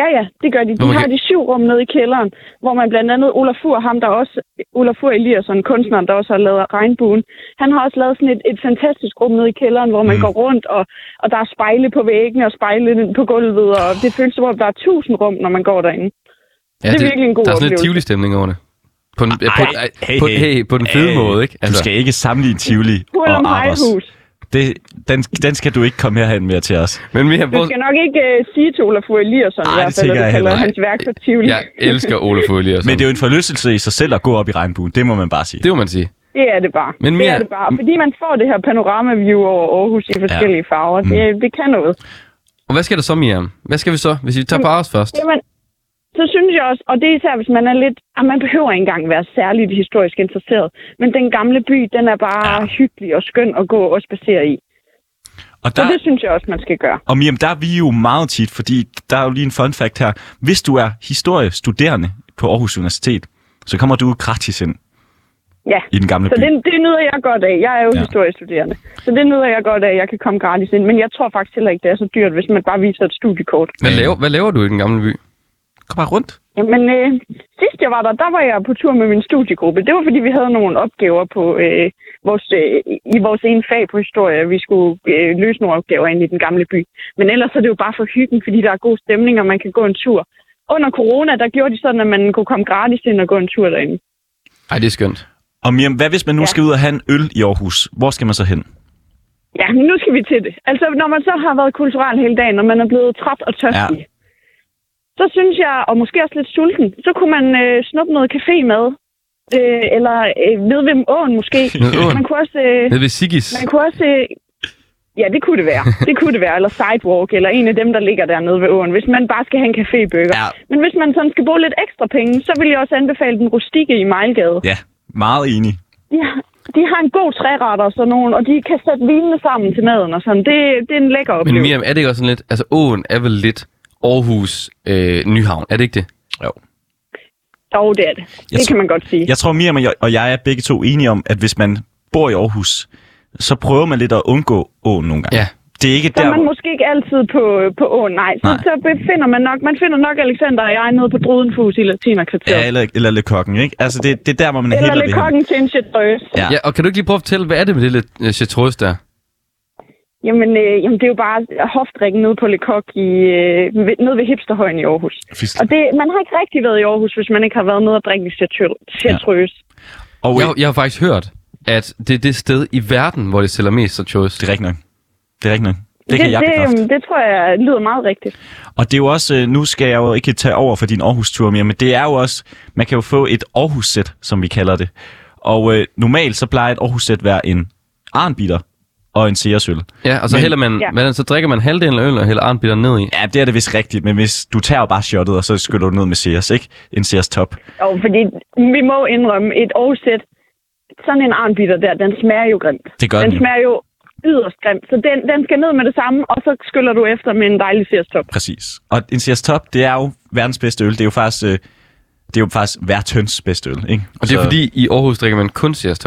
Speaker 5: Ja, ja, det gør de. De
Speaker 3: Hvor man
Speaker 5: har
Speaker 3: kan-
Speaker 5: de syv rum nede i kælderen, hvor man blandt andet Olaf Fur, ham der også, Olaf Fur Eliasson, kunstneren, der også har lavet regnbuen, han har også lavet sådan et, et fantastisk rum nede i kælderen, hvor man
Speaker 2: Mm.
Speaker 5: mm. går rundt, og, og der er spejle på væggene og spejle på gulvet, og det føles som om, der er tusind rum, når man går derinde.
Speaker 3: Ja,
Speaker 5: Det er virkelig en god
Speaker 3: Der er sådan lidt
Speaker 5: oplevelse.
Speaker 3: tivoli stemning over det. På den,
Speaker 2: Ej,
Speaker 3: øh, på, ej,
Speaker 2: hey,
Speaker 3: på,
Speaker 2: hey.
Speaker 3: hey, på den fede
Speaker 2: Øh,
Speaker 3: måde, ikke?
Speaker 2: Altså. Du skal ikke sammenligne Tivoli
Speaker 5: Hul om
Speaker 2: og Aros.
Speaker 5: hejhus.
Speaker 2: Det, den, den skal du ikke komme herhen med til os.
Speaker 3: Men Miriam,
Speaker 5: Du
Speaker 3: hvor,
Speaker 5: skal nok ikke uh, sige til Olaf Fur Eliasson,
Speaker 2: Ej,
Speaker 5: i
Speaker 2: det
Speaker 5: hvert fald,
Speaker 2: tænker
Speaker 5: at
Speaker 2: jeg
Speaker 5: du kalder
Speaker 2: heller
Speaker 5: hans værk for Tivoli.
Speaker 3: jeg elsker Ole Folie og
Speaker 2: Men
Speaker 3: sådan.
Speaker 2: det er jo en forlystelse i sig selv at gå op i regnbuen. Det må man bare sige.
Speaker 3: det må man sige.
Speaker 5: Det er det bare.
Speaker 3: Men
Speaker 5: det
Speaker 3: Mia-
Speaker 5: er det bare. Fordi man får det her panoramaview over Aarhus i forskellige ja. farver. Det, det kan noget.
Speaker 3: Og hvad skal der så, Miriam? Hvad skal vi så, hvis vi tager på Aros først?
Speaker 5: Jamen, så synes jeg også, og det er især, hvis man er lidt... At man behøver ikke engang være særligt historisk interesseret. Men den gamle by, den er bare
Speaker 2: Ja.
Speaker 5: ja. hyggelig og skøn at gå og spacere i.
Speaker 2: Og
Speaker 5: Så
Speaker 2: der,
Speaker 5: det synes jeg også, man skal gøre.
Speaker 2: Og Miriam, der er vi jo meget tit, fordi der er jo lige en fun fact her. Hvis du er historiestuderende på Aarhus Universitet, så kommer du gratis ind
Speaker 5: Ja.
Speaker 2: i den gamle
Speaker 5: Så
Speaker 2: by.
Speaker 5: det, det nyder jeg godt af. Jeg er jo
Speaker 2: Ja.
Speaker 5: ja. historiestuderende. Så det nyder jeg godt af, at jeg kan komme gratis ind. Men jeg tror faktisk heller ikke, det er så dyrt, hvis man bare viser et studiekort.
Speaker 3: Hvad, laver, hvad laver du i den gamle by?
Speaker 2: Kom bare rundt.
Speaker 5: Men øh, sidst jeg var der, der var jeg på tur med min studiegruppe. Det var fordi, vi havde nogle opgaver på øh, vores, øh, i vores ene fag på historie. Vi skulle øh, løse nogle opgaver inde i den gamle by. Men ellers er det jo bare for hyggen, fordi der er god stemning, og man kan gå en tur. Under corona, der gjorde de sådan, at man kunne komme gratis ind og gå en tur derinde.
Speaker 3: Ej, det er skønt.
Speaker 2: Og Miriam, hvad hvis man nu ja.
Speaker 5: Ja.
Speaker 2: skal ud og have en øl i Aarhus? Hvor skal man så hen?
Speaker 5: Ja, men nu skal vi til det. Altså, når man så har været kulturel hele dagen, og man er blevet træt og tørstig, ja. så synes jeg, og måske også lidt sulten, så kunne man øh, snuppe noget cafémad. Øh, eller øh, ved hvem åen måske.
Speaker 3: Nede ved åen.
Speaker 5: Man kunne også... Øh,
Speaker 3: Nede ved Sigis.
Speaker 5: man kunne også øh, ja, det kunne det være. Det kunne det være. Eller sidewalk, eller en af dem, der ligger dernede ved åen, hvis man bare skal have en cafébøger.
Speaker 2: Ja.
Speaker 5: Men hvis man sådan skal bruge lidt ekstra penge, så vil jeg også anbefale den rustikke i Mejlgade.
Speaker 2: Ja, meget enig.
Speaker 5: De har, de har en god træretter og sådan nogen, og de kan sætte vinene sammen til maden og sådan. Det, det er en lækker
Speaker 3: Men
Speaker 5: oplevelse.
Speaker 3: Miriam, er det ikke også sådan lidt... Altså, åen er vel lidt Aarhus øh, Nyhavn, er det ikke det?
Speaker 5: Jo, det er det.
Speaker 2: Jeg
Speaker 5: det
Speaker 2: tror-
Speaker 5: kan man godt sige.
Speaker 2: Jeg tror, Miriam og jeg- og jeg er begge to enige om, at hvis man bor i Aarhus, så prøver man lidt at undgå åen nogle gange.
Speaker 3: Ja.
Speaker 2: Det er ikke
Speaker 5: Så
Speaker 2: der,
Speaker 5: er man
Speaker 2: hvor-
Speaker 5: måske ikke altid på, på åen, nej. Så,
Speaker 2: Nej.
Speaker 5: så befinder man nok, man finder nok Alexander og jeg nede på Drudenfus i Latinerkvarteret.
Speaker 2: Ja, eller, eller Le Coquen, ikke? Altså, det, det er der, hvor man
Speaker 5: eller
Speaker 2: hellere
Speaker 5: lidt
Speaker 2: vil hen.
Speaker 5: kokken til en chartreuse.
Speaker 2: Ja.
Speaker 3: Ja, og kan du ikke lige prøve at fortælle, hvad er det med det lidt øh, chartreuse der?
Speaker 5: Jamen, øh, jamen, det er jo bare hofdrikken nede på Le Coq i, øh, ved- nede ved Hipsterhøjen i Aarhus.
Speaker 2: Fisk.
Speaker 5: Og det, man har ikke rigtig været i Aarhus, hvis man ikke har været nede og drikke en chartre- chartreuse. Ja.
Speaker 2: Og
Speaker 3: Jeg, jeg har faktisk hørt, at det er det sted i verden, hvor det sælger mest chartreuse.
Speaker 2: det er rigtigt nok. Det er rigtigt nok. Det kan
Speaker 5: det, øhm,
Speaker 2: jeg bekræfte.
Speaker 5: det, det tror jeg lyder meget rigtigt.
Speaker 2: Og det er jo også, øh, nu skal jeg jo ikke tage over for din Aarhus-tur mere, men det er jo også, man kan jo få et Aarhus-sæt, som vi kalder det. Og øh, normalt så plejer et Aarhus-sæt at være en arnbitter og en seersøl.
Speaker 3: Ja, og så,
Speaker 2: Men-
Speaker 3: hælder man,
Speaker 5: Ja.
Speaker 3: ja. så drikker man halvdelen af øl og hælder arnbitteren ned i.
Speaker 2: Ja, det er det vist rigtigt, men hvis du tager jo bare shotet, og så skyller du ned med seers, ikke? En seers top.
Speaker 5: Og fordi vi må indrømme, et Aarhus-sæt, sådan en arnbitter der, den smager jo grimt.
Speaker 2: Det gør
Speaker 5: den
Speaker 2: den jo.
Speaker 5: smager jo yderst grimt, så den, den skal ned med det samme, og så skyller du efter med en dejlig sirstop.
Speaker 2: Præcis. Og en seers top, det er jo verdens bedste øl. Det er jo faktisk, øh, det er jo faktisk hvert høns bedste øl, ikke?
Speaker 3: Og det er
Speaker 2: Så-
Speaker 3: fordi, i Aarhus drikker man kun Sears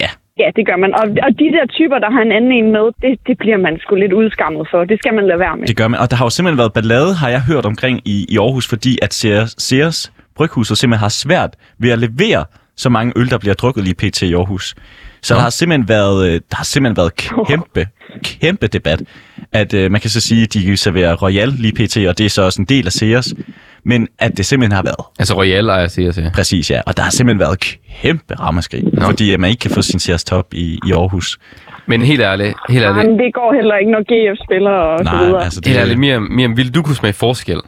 Speaker 2: Ja,
Speaker 5: Ja, det gør man. Og, og de der typer, der har en anden en med, det, det bliver man sgu lidt udskammet for. Det skal man lade være med.
Speaker 2: Det gør man. Og der har jo simpelthen været ballade, har jeg hørt omkring i, i Aarhus, fordi at Ceres, Ceres Bryghuset simpelthen har svært ved at levere så mange øl, der bliver drukket lige pt. i Aarhus. Så der har simpelthen været, øh, der har simpelthen været kæmpe, kæmpe debat. At øh, man kan så sige, at de serverer Royal lige pt., og det er så også en del af Ceres. Men at det simpelthen har været.
Speaker 3: Altså Royal ejer Sears, ja.
Speaker 2: Præcis, ja. Og der har simpelthen været kæmpe ramaskrig,
Speaker 3: Nå.
Speaker 2: fordi at man ikke kan få sin Ceres top i, i Aarhus.
Speaker 3: Men helt ærligt, helt
Speaker 5: Nej,
Speaker 3: ærligt,
Speaker 5: men det går heller ikke, når GF spiller og så videre.
Speaker 2: altså
Speaker 3: helt
Speaker 2: det
Speaker 3: ærligt,
Speaker 2: er...
Speaker 3: Miriam, Miriam, ville du kunne smage forskel?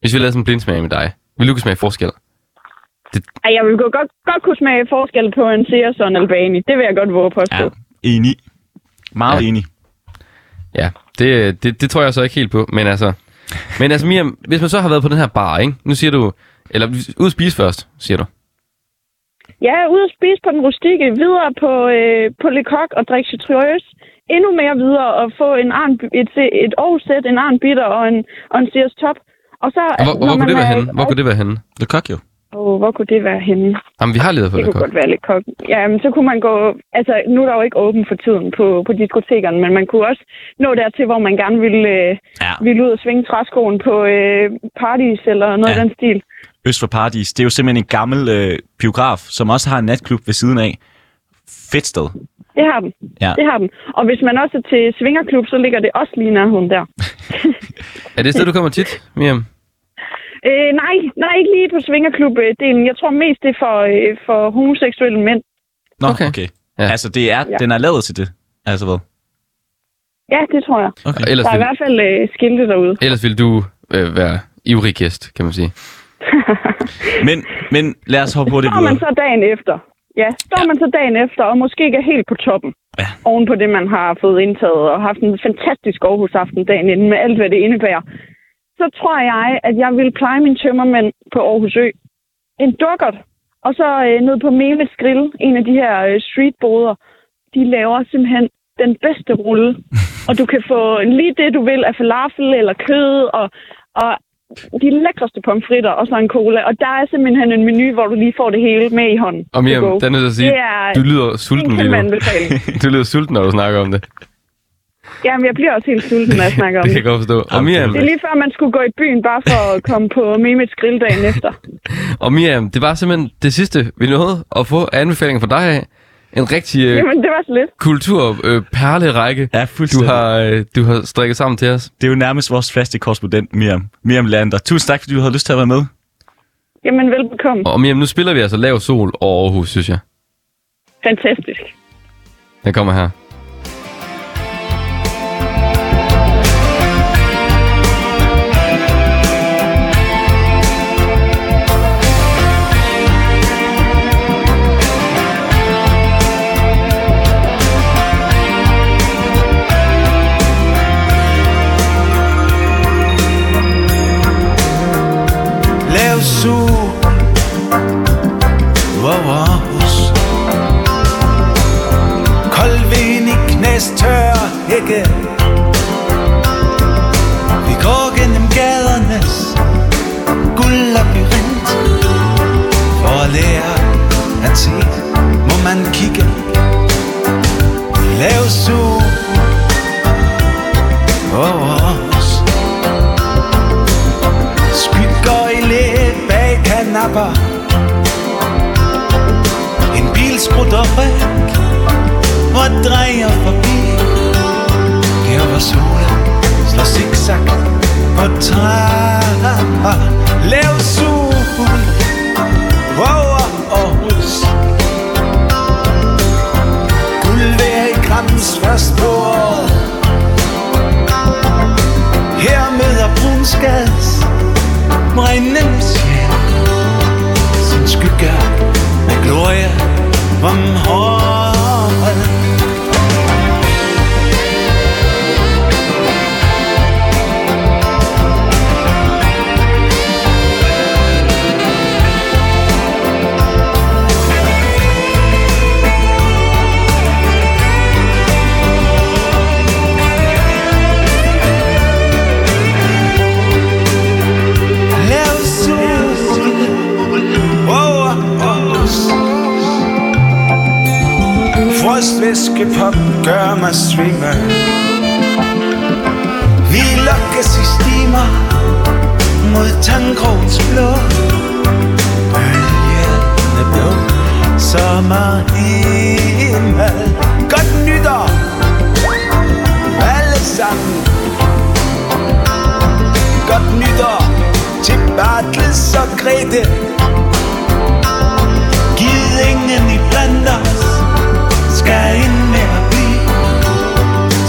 Speaker 3: Hvis vi lavede sådan en blindsmag med dig, ville du kunne smage forskel?
Speaker 5: Ej, jeg vil gå- godt, godt kunne smage forskel på en Sears og en Albani. Det vil jeg godt våge på at
Speaker 2: Ja,
Speaker 5: ja.
Speaker 2: enig. Meget
Speaker 3: Ja.
Speaker 2: ja. enig.
Speaker 3: Ja, det, det, det tror jeg så ikke helt på, men altså... Men altså Miriam, hvis man så har været på den her bar, ikke? Nu siger du... Eller ud at spise først, siger du.
Speaker 5: Jeg er ude at spise på den rustikke, videre på, øh, på Le Coq og drikke chartreuse. Endnu mere videre og få en arn, et, et Aarhus-sæt, en arnbitter og en, og en Sears Top. Og så,
Speaker 3: Og hvor, hvor,
Speaker 5: når
Speaker 3: hvor kunne
Speaker 5: man
Speaker 3: det være
Speaker 5: er-
Speaker 3: henne? Hvor kunne det være henne?
Speaker 2: Det kok jo.
Speaker 5: Åh, hvor kunne det være henne?
Speaker 3: Jamen, vi har ledet på
Speaker 5: Det
Speaker 3: det,
Speaker 5: kunne
Speaker 3: godt.
Speaker 5: godt være lidt kok. Jamen, så kunne man gå... Altså, nu er der jo ikke åben for tiden på, på diskotekerne, men man kunne også nå dertil, hvor man gerne ville, øh,
Speaker 2: Ja.
Speaker 5: ville ud og svinge træskoen på øh, parties eller
Speaker 2: Ja.
Speaker 5: noget ja. af den stil.
Speaker 2: Øst for Paradis, det er jo simpelthen en gammel øh, biograf, som også har en natklub ved siden af. Fedt sted.
Speaker 5: Det har den.
Speaker 2: Ja.
Speaker 5: Det har den. Og hvis man også er til svingerklub, så ligger det også lige i nærheden der.
Speaker 3: Er det et sted, du kommer tit, Miriam?
Speaker 5: Øh, nej, nej, ikke lige på svingerklub-delen. Jeg tror mest, det er for, øh, for homoseksuelle mænd.
Speaker 2: Nå, okay.
Speaker 3: Okay.
Speaker 2: okay. Ja.
Speaker 3: Ja.
Speaker 2: Altså, det er, ja.
Speaker 5: Ja.
Speaker 2: den er lavet til det. Altså hvad?
Speaker 5: Ja, det tror jeg.
Speaker 2: Okay.
Speaker 3: Ellers
Speaker 5: Der er i
Speaker 3: vil,
Speaker 5: hvert fald øh, skilte derude.
Speaker 3: ellers vil du øh, være ivrig gæst, kan man sige.
Speaker 2: Men, men lad os hoppe hurtigt
Speaker 5: Står man
Speaker 2: videre.
Speaker 5: så dagen efter. Ja, står ja. man så dagen efter, og måske ikke er helt på toppen.
Speaker 2: Ja.
Speaker 5: Oven på det, man har fået indtaget, og haft en fantastisk Aarhus-aften dagen inden, med alt, hvad det indebærer. så tror jeg, at jeg ville pleje min tømmermænd på Aarhus Ø. En dukkert, og så øh, ned på Memes Grill, en af de her øh, streetboder. De laver simpelthen den bedste rulle. og du kan få lige det, du vil af falafel eller kød, og, og de lækreste pomfritter og så en cola. Og der er simpelthen en menu, hvor du lige får det hele med i hånden.
Speaker 3: Og Miriam,
Speaker 5: To go.
Speaker 3: der er nødt til at sige,
Speaker 5: Det er
Speaker 3: du lyder
Speaker 5: en
Speaker 3: sulten lige
Speaker 5: kæmpe
Speaker 3: nu.
Speaker 5: anbefaling.
Speaker 3: Du lyder sulten, når du snakker om det.
Speaker 5: Jamen, jeg bliver også helt sulten, når jeg snakker om
Speaker 3: Det
Speaker 5: det.
Speaker 3: kan jeg godt forstå. Og
Speaker 2: Jamen, det er
Speaker 3: Miriam,
Speaker 5: Det er lige før, man skulle gå i byen bare for at komme på Mehmets grill dagen efter.
Speaker 3: og Miriam, det var simpelthen det sidste, vi nåede at få af anbefalinger fra dig af. En rigtig øh,
Speaker 5: Jamen, det var så lidt.
Speaker 3: kulturperlerække,
Speaker 2: Ja,
Speaker 3: du
Speaker 2: fuldstændig.
Speaker 3: har, øh, du har strikket sammen til os.
Speaker 2: Det er jo nærmest vores faste korrespondent, Miriam. Miriam Lander. Tusind tak, fordi du havde lyst til at være med.
Speaker 5: Jamen, velbekomme.
Speaker 3: Og Miriam, nu spiller vi altså Lav Sol over Aarhus, synes jeg.
Speaker 5: Fantastisk.
Speaker 3: Den kommer her.
Speaker 6: Lav sol Wow, wow Kold vind i knæs tør hække Vi går gennem gadernes guld labyrint For at lære at se må man kigge Lav sol Wow, wow Skygger i læ bag kanapper En bil sprutter væk Og drejer forbi Der hvor solen slår zigzag På trapper Lav sol Over Aarhus Guld vejr i Grams først på året Her møder Brunsgads brændende sjæl Sin skygge af glorie om håret Lav sol over os Frostvæske pop gør mig svimmel Vi lokkes i stimer Mod tangrovens blå Bølgerne blå Sommerhimmel Godt nytår Alle sammen Godt nytår til Bartels og Grete Gid ingen i blandt os skal ind med at blive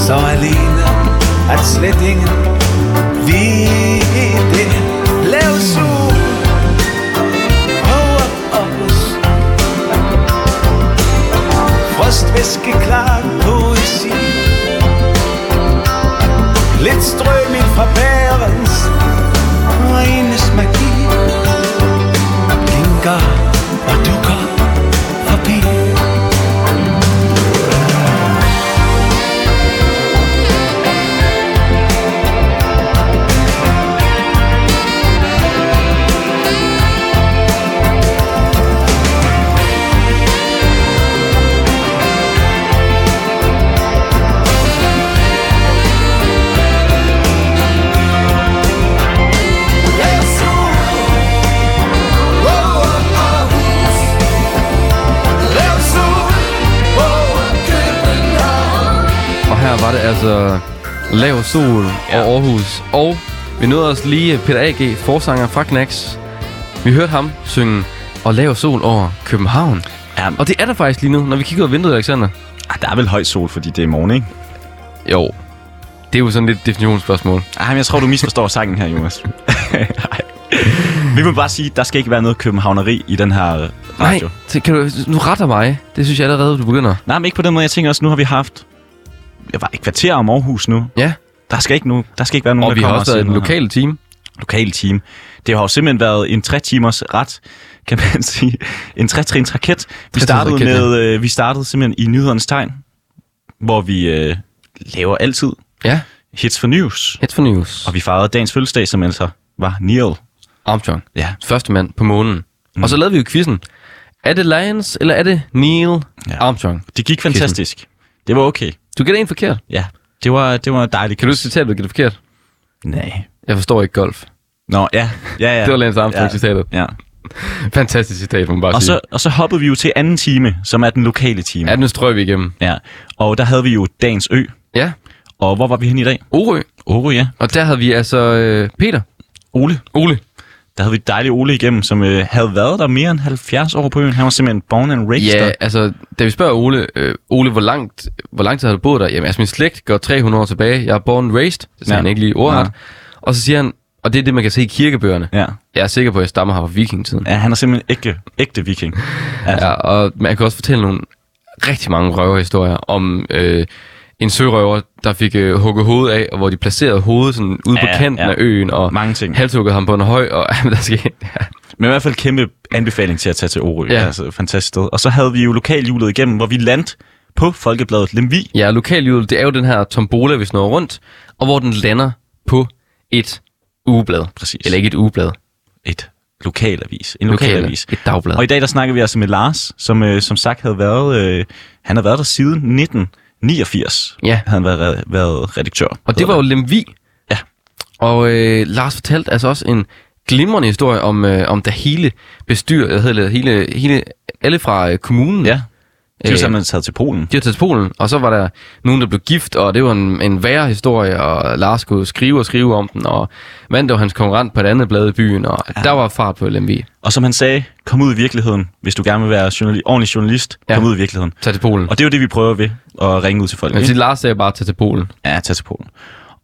Speaker 6: Så alene at slet ingen ved det Lav sol over os Frostvæske klar poesi Lidt strøming fra bærens regnes magi Blinker og dukker forbi
Speaker 3: Og her var det altså Lav Sol og Aarhus. Og vi nåede også lige Peter A.G., forsanger fra Knacks. Vi hørte ham synge og Lav Sol over København.
Speaker 2: Ja,
Speaker 3: Og det er der faktisk lige nu, når vi kigger ud af vinduet, Alexander.
Speaker 2: ah, der er vel høj sol, fordi det er morgen, ikke?
Speaker 3: Jo, det er jo sådan lidt et definitionsspørgsmål.
Speaker 2: Ej, Ah, men jeg tror, du misforstår sangen her, Jonas. Ej. Vi må bare sige, der skal ikke være noget københavneri i den her øh, radio. Nej.
Speaker 3: Nej, det kan du, nu retter mig. Det synes jeg allerede, du begynder.
Speaker 2: Nej, men ikke på den måde. Jeg tænker også, nu har vi haft jeg var et kvarter om Aarhus nu.
Speaker 3: Ja,
Speaker 2: Der skal ikke, nu, der skal ikke være nogen,
Speaker 3: og
Speaker 2: der
Speaker 3: vi har
Speaker 2: kommer
Speaker 3: også
Speaker 2: og siger
Speaker 3: været i den
Speaker 2: noget her.
Speaker 3: lokale team.
Speaker 2: lokale team. Det har jo simpelthen været en tre timers ret, kan man sige. En tre trins raket. Vi
Speaker 3: Tretrins
Speaker 2: startede,
Speaker 3: raket,
Speaker 2: med, øh, vi startede simpelthen i nyhedernes tegn, hvor vi øh, laver altid
Speaker 3: Ja,
Speaker 2: hits for news.
Speaker 3: Head for News.
Speaker 2: Og vi fejrede dagens fødselsdag, som altså var Neil.
Speaker 3: Armstrong.
Speaker 2: Ja.
Speaker 3: Første mand på månen. Mm. Og så lavede vi jo quizzen. Er det Lions, eller er det Neil
Speaker 2: Ja.
Speaker 3: ja. Armstrong?
Speaker 2: Det gik fantastisk. Det var okay.
Speaker 3: Du gætter en forkert.
Speaker 2: Ja, det var, det var dejligt.
Speaker 3: Kan du citere, du gætter forkert?
Speaker 2: Nej.
Speaker 3: Jeg forstår ikke golf.
Speaker 2: Nå, ja. ja, ja.
Speaker 3: Det var Lance Armstrong-citatet.
Speaker 2: Ja. ja.
Speaker 3: Fantastisk citat, må man bare
Speaker 2: Og,
Speaker 3: sige.
Speaker 2: så, og så hoppede vi jo til anden time, som er den lokale time.
Speaker 3: Ja, nu strøg vi igennem.
Speaker 2: Ja. Og der havde vi jo Dagens Ø.
Speaker 3: Ja,
Speaker 2: Og hvor var vi hen i dag?
Speaker 3: Orø.
Speaker 2: Åre, ja.
Speaker 3: Og der havde vi altså øh, Peter.
Speaker 2: Ole.
Speaker 3: Ole.
Speaker 2: Der havde vi dejlig Ole igennem, som øh, havde været der mere end 70 år på øen. Han var simpelthen born and raised
Speaker 3: Ja,
Speaker 2: der.
Speaker 3: altså, da vi spørger Ole, øh, Ole, hvor, langt, hvor lang tid har du boet der? Jamen, altså, min slægt går 300 år tilbage. Jeg er born and raised. Det sagde
Speaker 2: Ja.
Speaker 3: ja. han ikke lige ordret. Og så siger han, og det er det, man kan se i kirkebøgerne.
Speaker 2: Ja.
Speaker 3: Jeg er sikker på, at jeg stammer her fra vikingetiden.
Speaker 2: ja. han er simpelthen ægte, ægte viking. Altså,
Speaker 3: Ja, og man kan også fortælle nogle rigtig mange røverhistorier om øh, en sørøver, der fik øh, hugget hovedet af, og hvor de placerede hovedet sådan ude ja,
Speaker 2: Ja,
Speaker 3: på kanten
Speaker 2: ja.
Speaker 3: ja. af øen, og
Speaker 2: Mange ting.
Speaker 3: halshugget ham på en høj, og jamen, der skete... Ja.
Speaker 2: Men i hvert fald kæmpe anbefaling til at tage til Orø. Ja.
Speaker 3: Ja.
Speaker 2: Altså, fantastisk sted. Og så havde vi jo lokalhjulet igennem, hvor vi landte på Folkebladet Lemvi.
Speaker 3: Ja, lokalhjulet, det er jo den her tombola, vi snor rundt, og hvor den lander på et ugeblad.
Speaker 2: Præcis.
Speaker 3: Eller ikke et ugeblad.
Speaker 2: Et lokalavis. En
Speaker 3: Lokale.
Speaker 2: lokalavis.
Speaker 3: Et dagblad.
Speaker 2: Og i dag der snakker vi altså med Lars, som øh, som sagt havde været, øh, han har været der siden 1989.
Speaker 3: Ja.
Speaker 2: Havde han været, re- været redaktør.
Speaker 3: Og det var jo Lemvi.
Speaker 2: Ja.
Speaker 3: Og øh, Lars fortalte altså også en glimrende historie om, øh, om da hele bestyr, eller hedder det, hele, hele, alle fra øh, kommunen,
Speaker 2: Ja. Det var
Speaker 3: Øh,
Speaker 2: simpelthen taget til Polen.
Speaker 3: de var taget til Polen, og så var der nogen, der blev gift, og det var en, en værre historie, og Lars kunne skrive og skrive om den, og mand, der var hans konkurrent på et andet blad i byen, og ja. der var fart på LMV.
Speaker 2: Og som han sagde, kom ud i virkeligheden, hvis du gerne vil være journali- ordentlig journalist. Ja.
Speaker 3: Ja.
Speaker 2: Kom ud i virkeligheden.
Speaker 3: Tag til Polen.
Speaker 2: Og det er jo det, vi prøver ved at ringe ud til folk.
Speaker 3: Jeg vil
Speaker 2: ikke?
Speaker 3: sige, Lars sagde bare, tag til Polen.
Speaker 2: Ja, tag til Polen.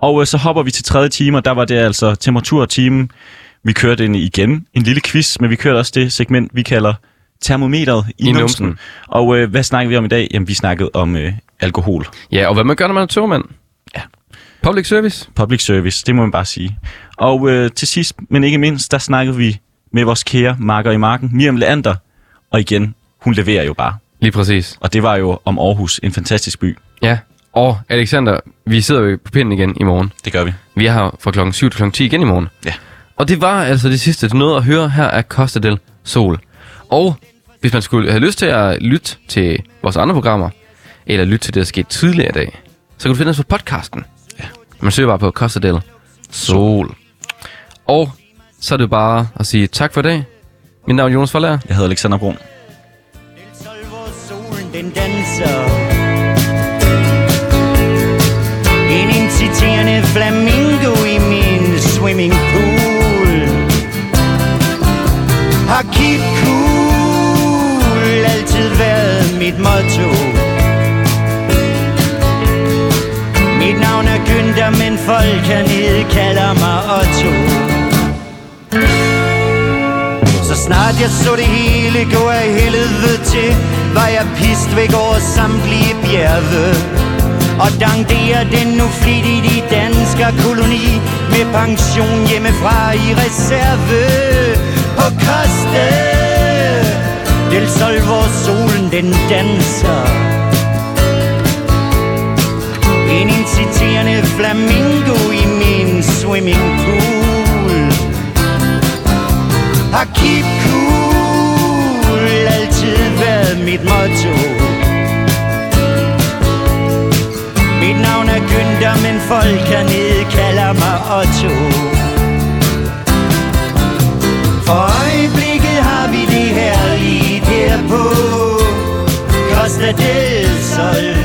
Speaker 2: Og øh, så hopper vi til tredje time, og der var det altså temperatur og timen. Vi kørte ind igen en lille quiz, men vi kørte også det segment, vi kalder termometeret i,
Speaker 3: I
Speaker 2: I
Speaker 3: numsen.
Speaker 2: numsen. Og øh, hvad snakkede vi om i dag? Jamen, vi snakkede om øh, alkohol.
Speaker 3: Ja, og hvad man gør, når man er togmand.
Speaker 2: Ja.
Speaker 3: Public service.
Speaker 2: Public service, det må man bare sige. Og øh, til sidst, men ikke mindst, der snakkede vi med vores kære marker i marken, Miriam Leander. Og igen, hun leverer jo bare.
Speaker 3: Lige præcis.
Speaker 2: Og det var jo om Aarhus, en fantastisk by.
Speaker 3: Ja. Og Alexander, vi sidder jo på pinden igen i morgen.
Speaker 2: Det gør vi.
Speaker 3: Vi er her fra klokken 7 til klokken 10 igen i morgen.
Speaker 2: Ja.
Speaker 3: Og det var altså det sidste, du nåede at høre her af Costa del Sol. Og hvis man skulle have lyst til at lytte til vores andre programmer, eller lytte til det, der skete tidligere i dag, så kan du finde os på podcasten. Ja. Man søger bare på Costa del Sol. Og så er det jo bare at sige tak for i dag. Mit navn er Jonas Forlager.
Speaker 2: Jeg hedder Alexander Brun.
Speaker 7: Sol, hvor solen den danser En inciterende flamingo i min swimming pool Har keep cool altid været mit motto Mit navn er Günther, men folk hernede kalder mig Otto så snart jeg så det hele gå af helvede til Var jeg pist væk over samtlige bjerge Og dangderer den nu flittigt i dansker koloni Med pension hjemmefra i reserve På Koste Del Sol, hvor solen den danser En inciterende e flamingo i min swimming pool har keep cool altid været mit motto Mit navn er Günther, men folk hernede kalder mig Otto For øjeblikket har vi det herligt her på Costa del Sol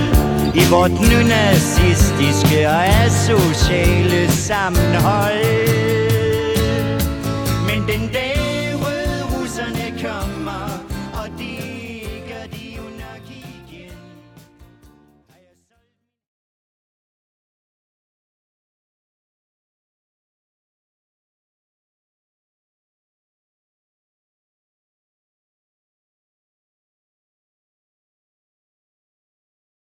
Speaker 7: i vort nu nazistiske og asociale sammenhold men den dag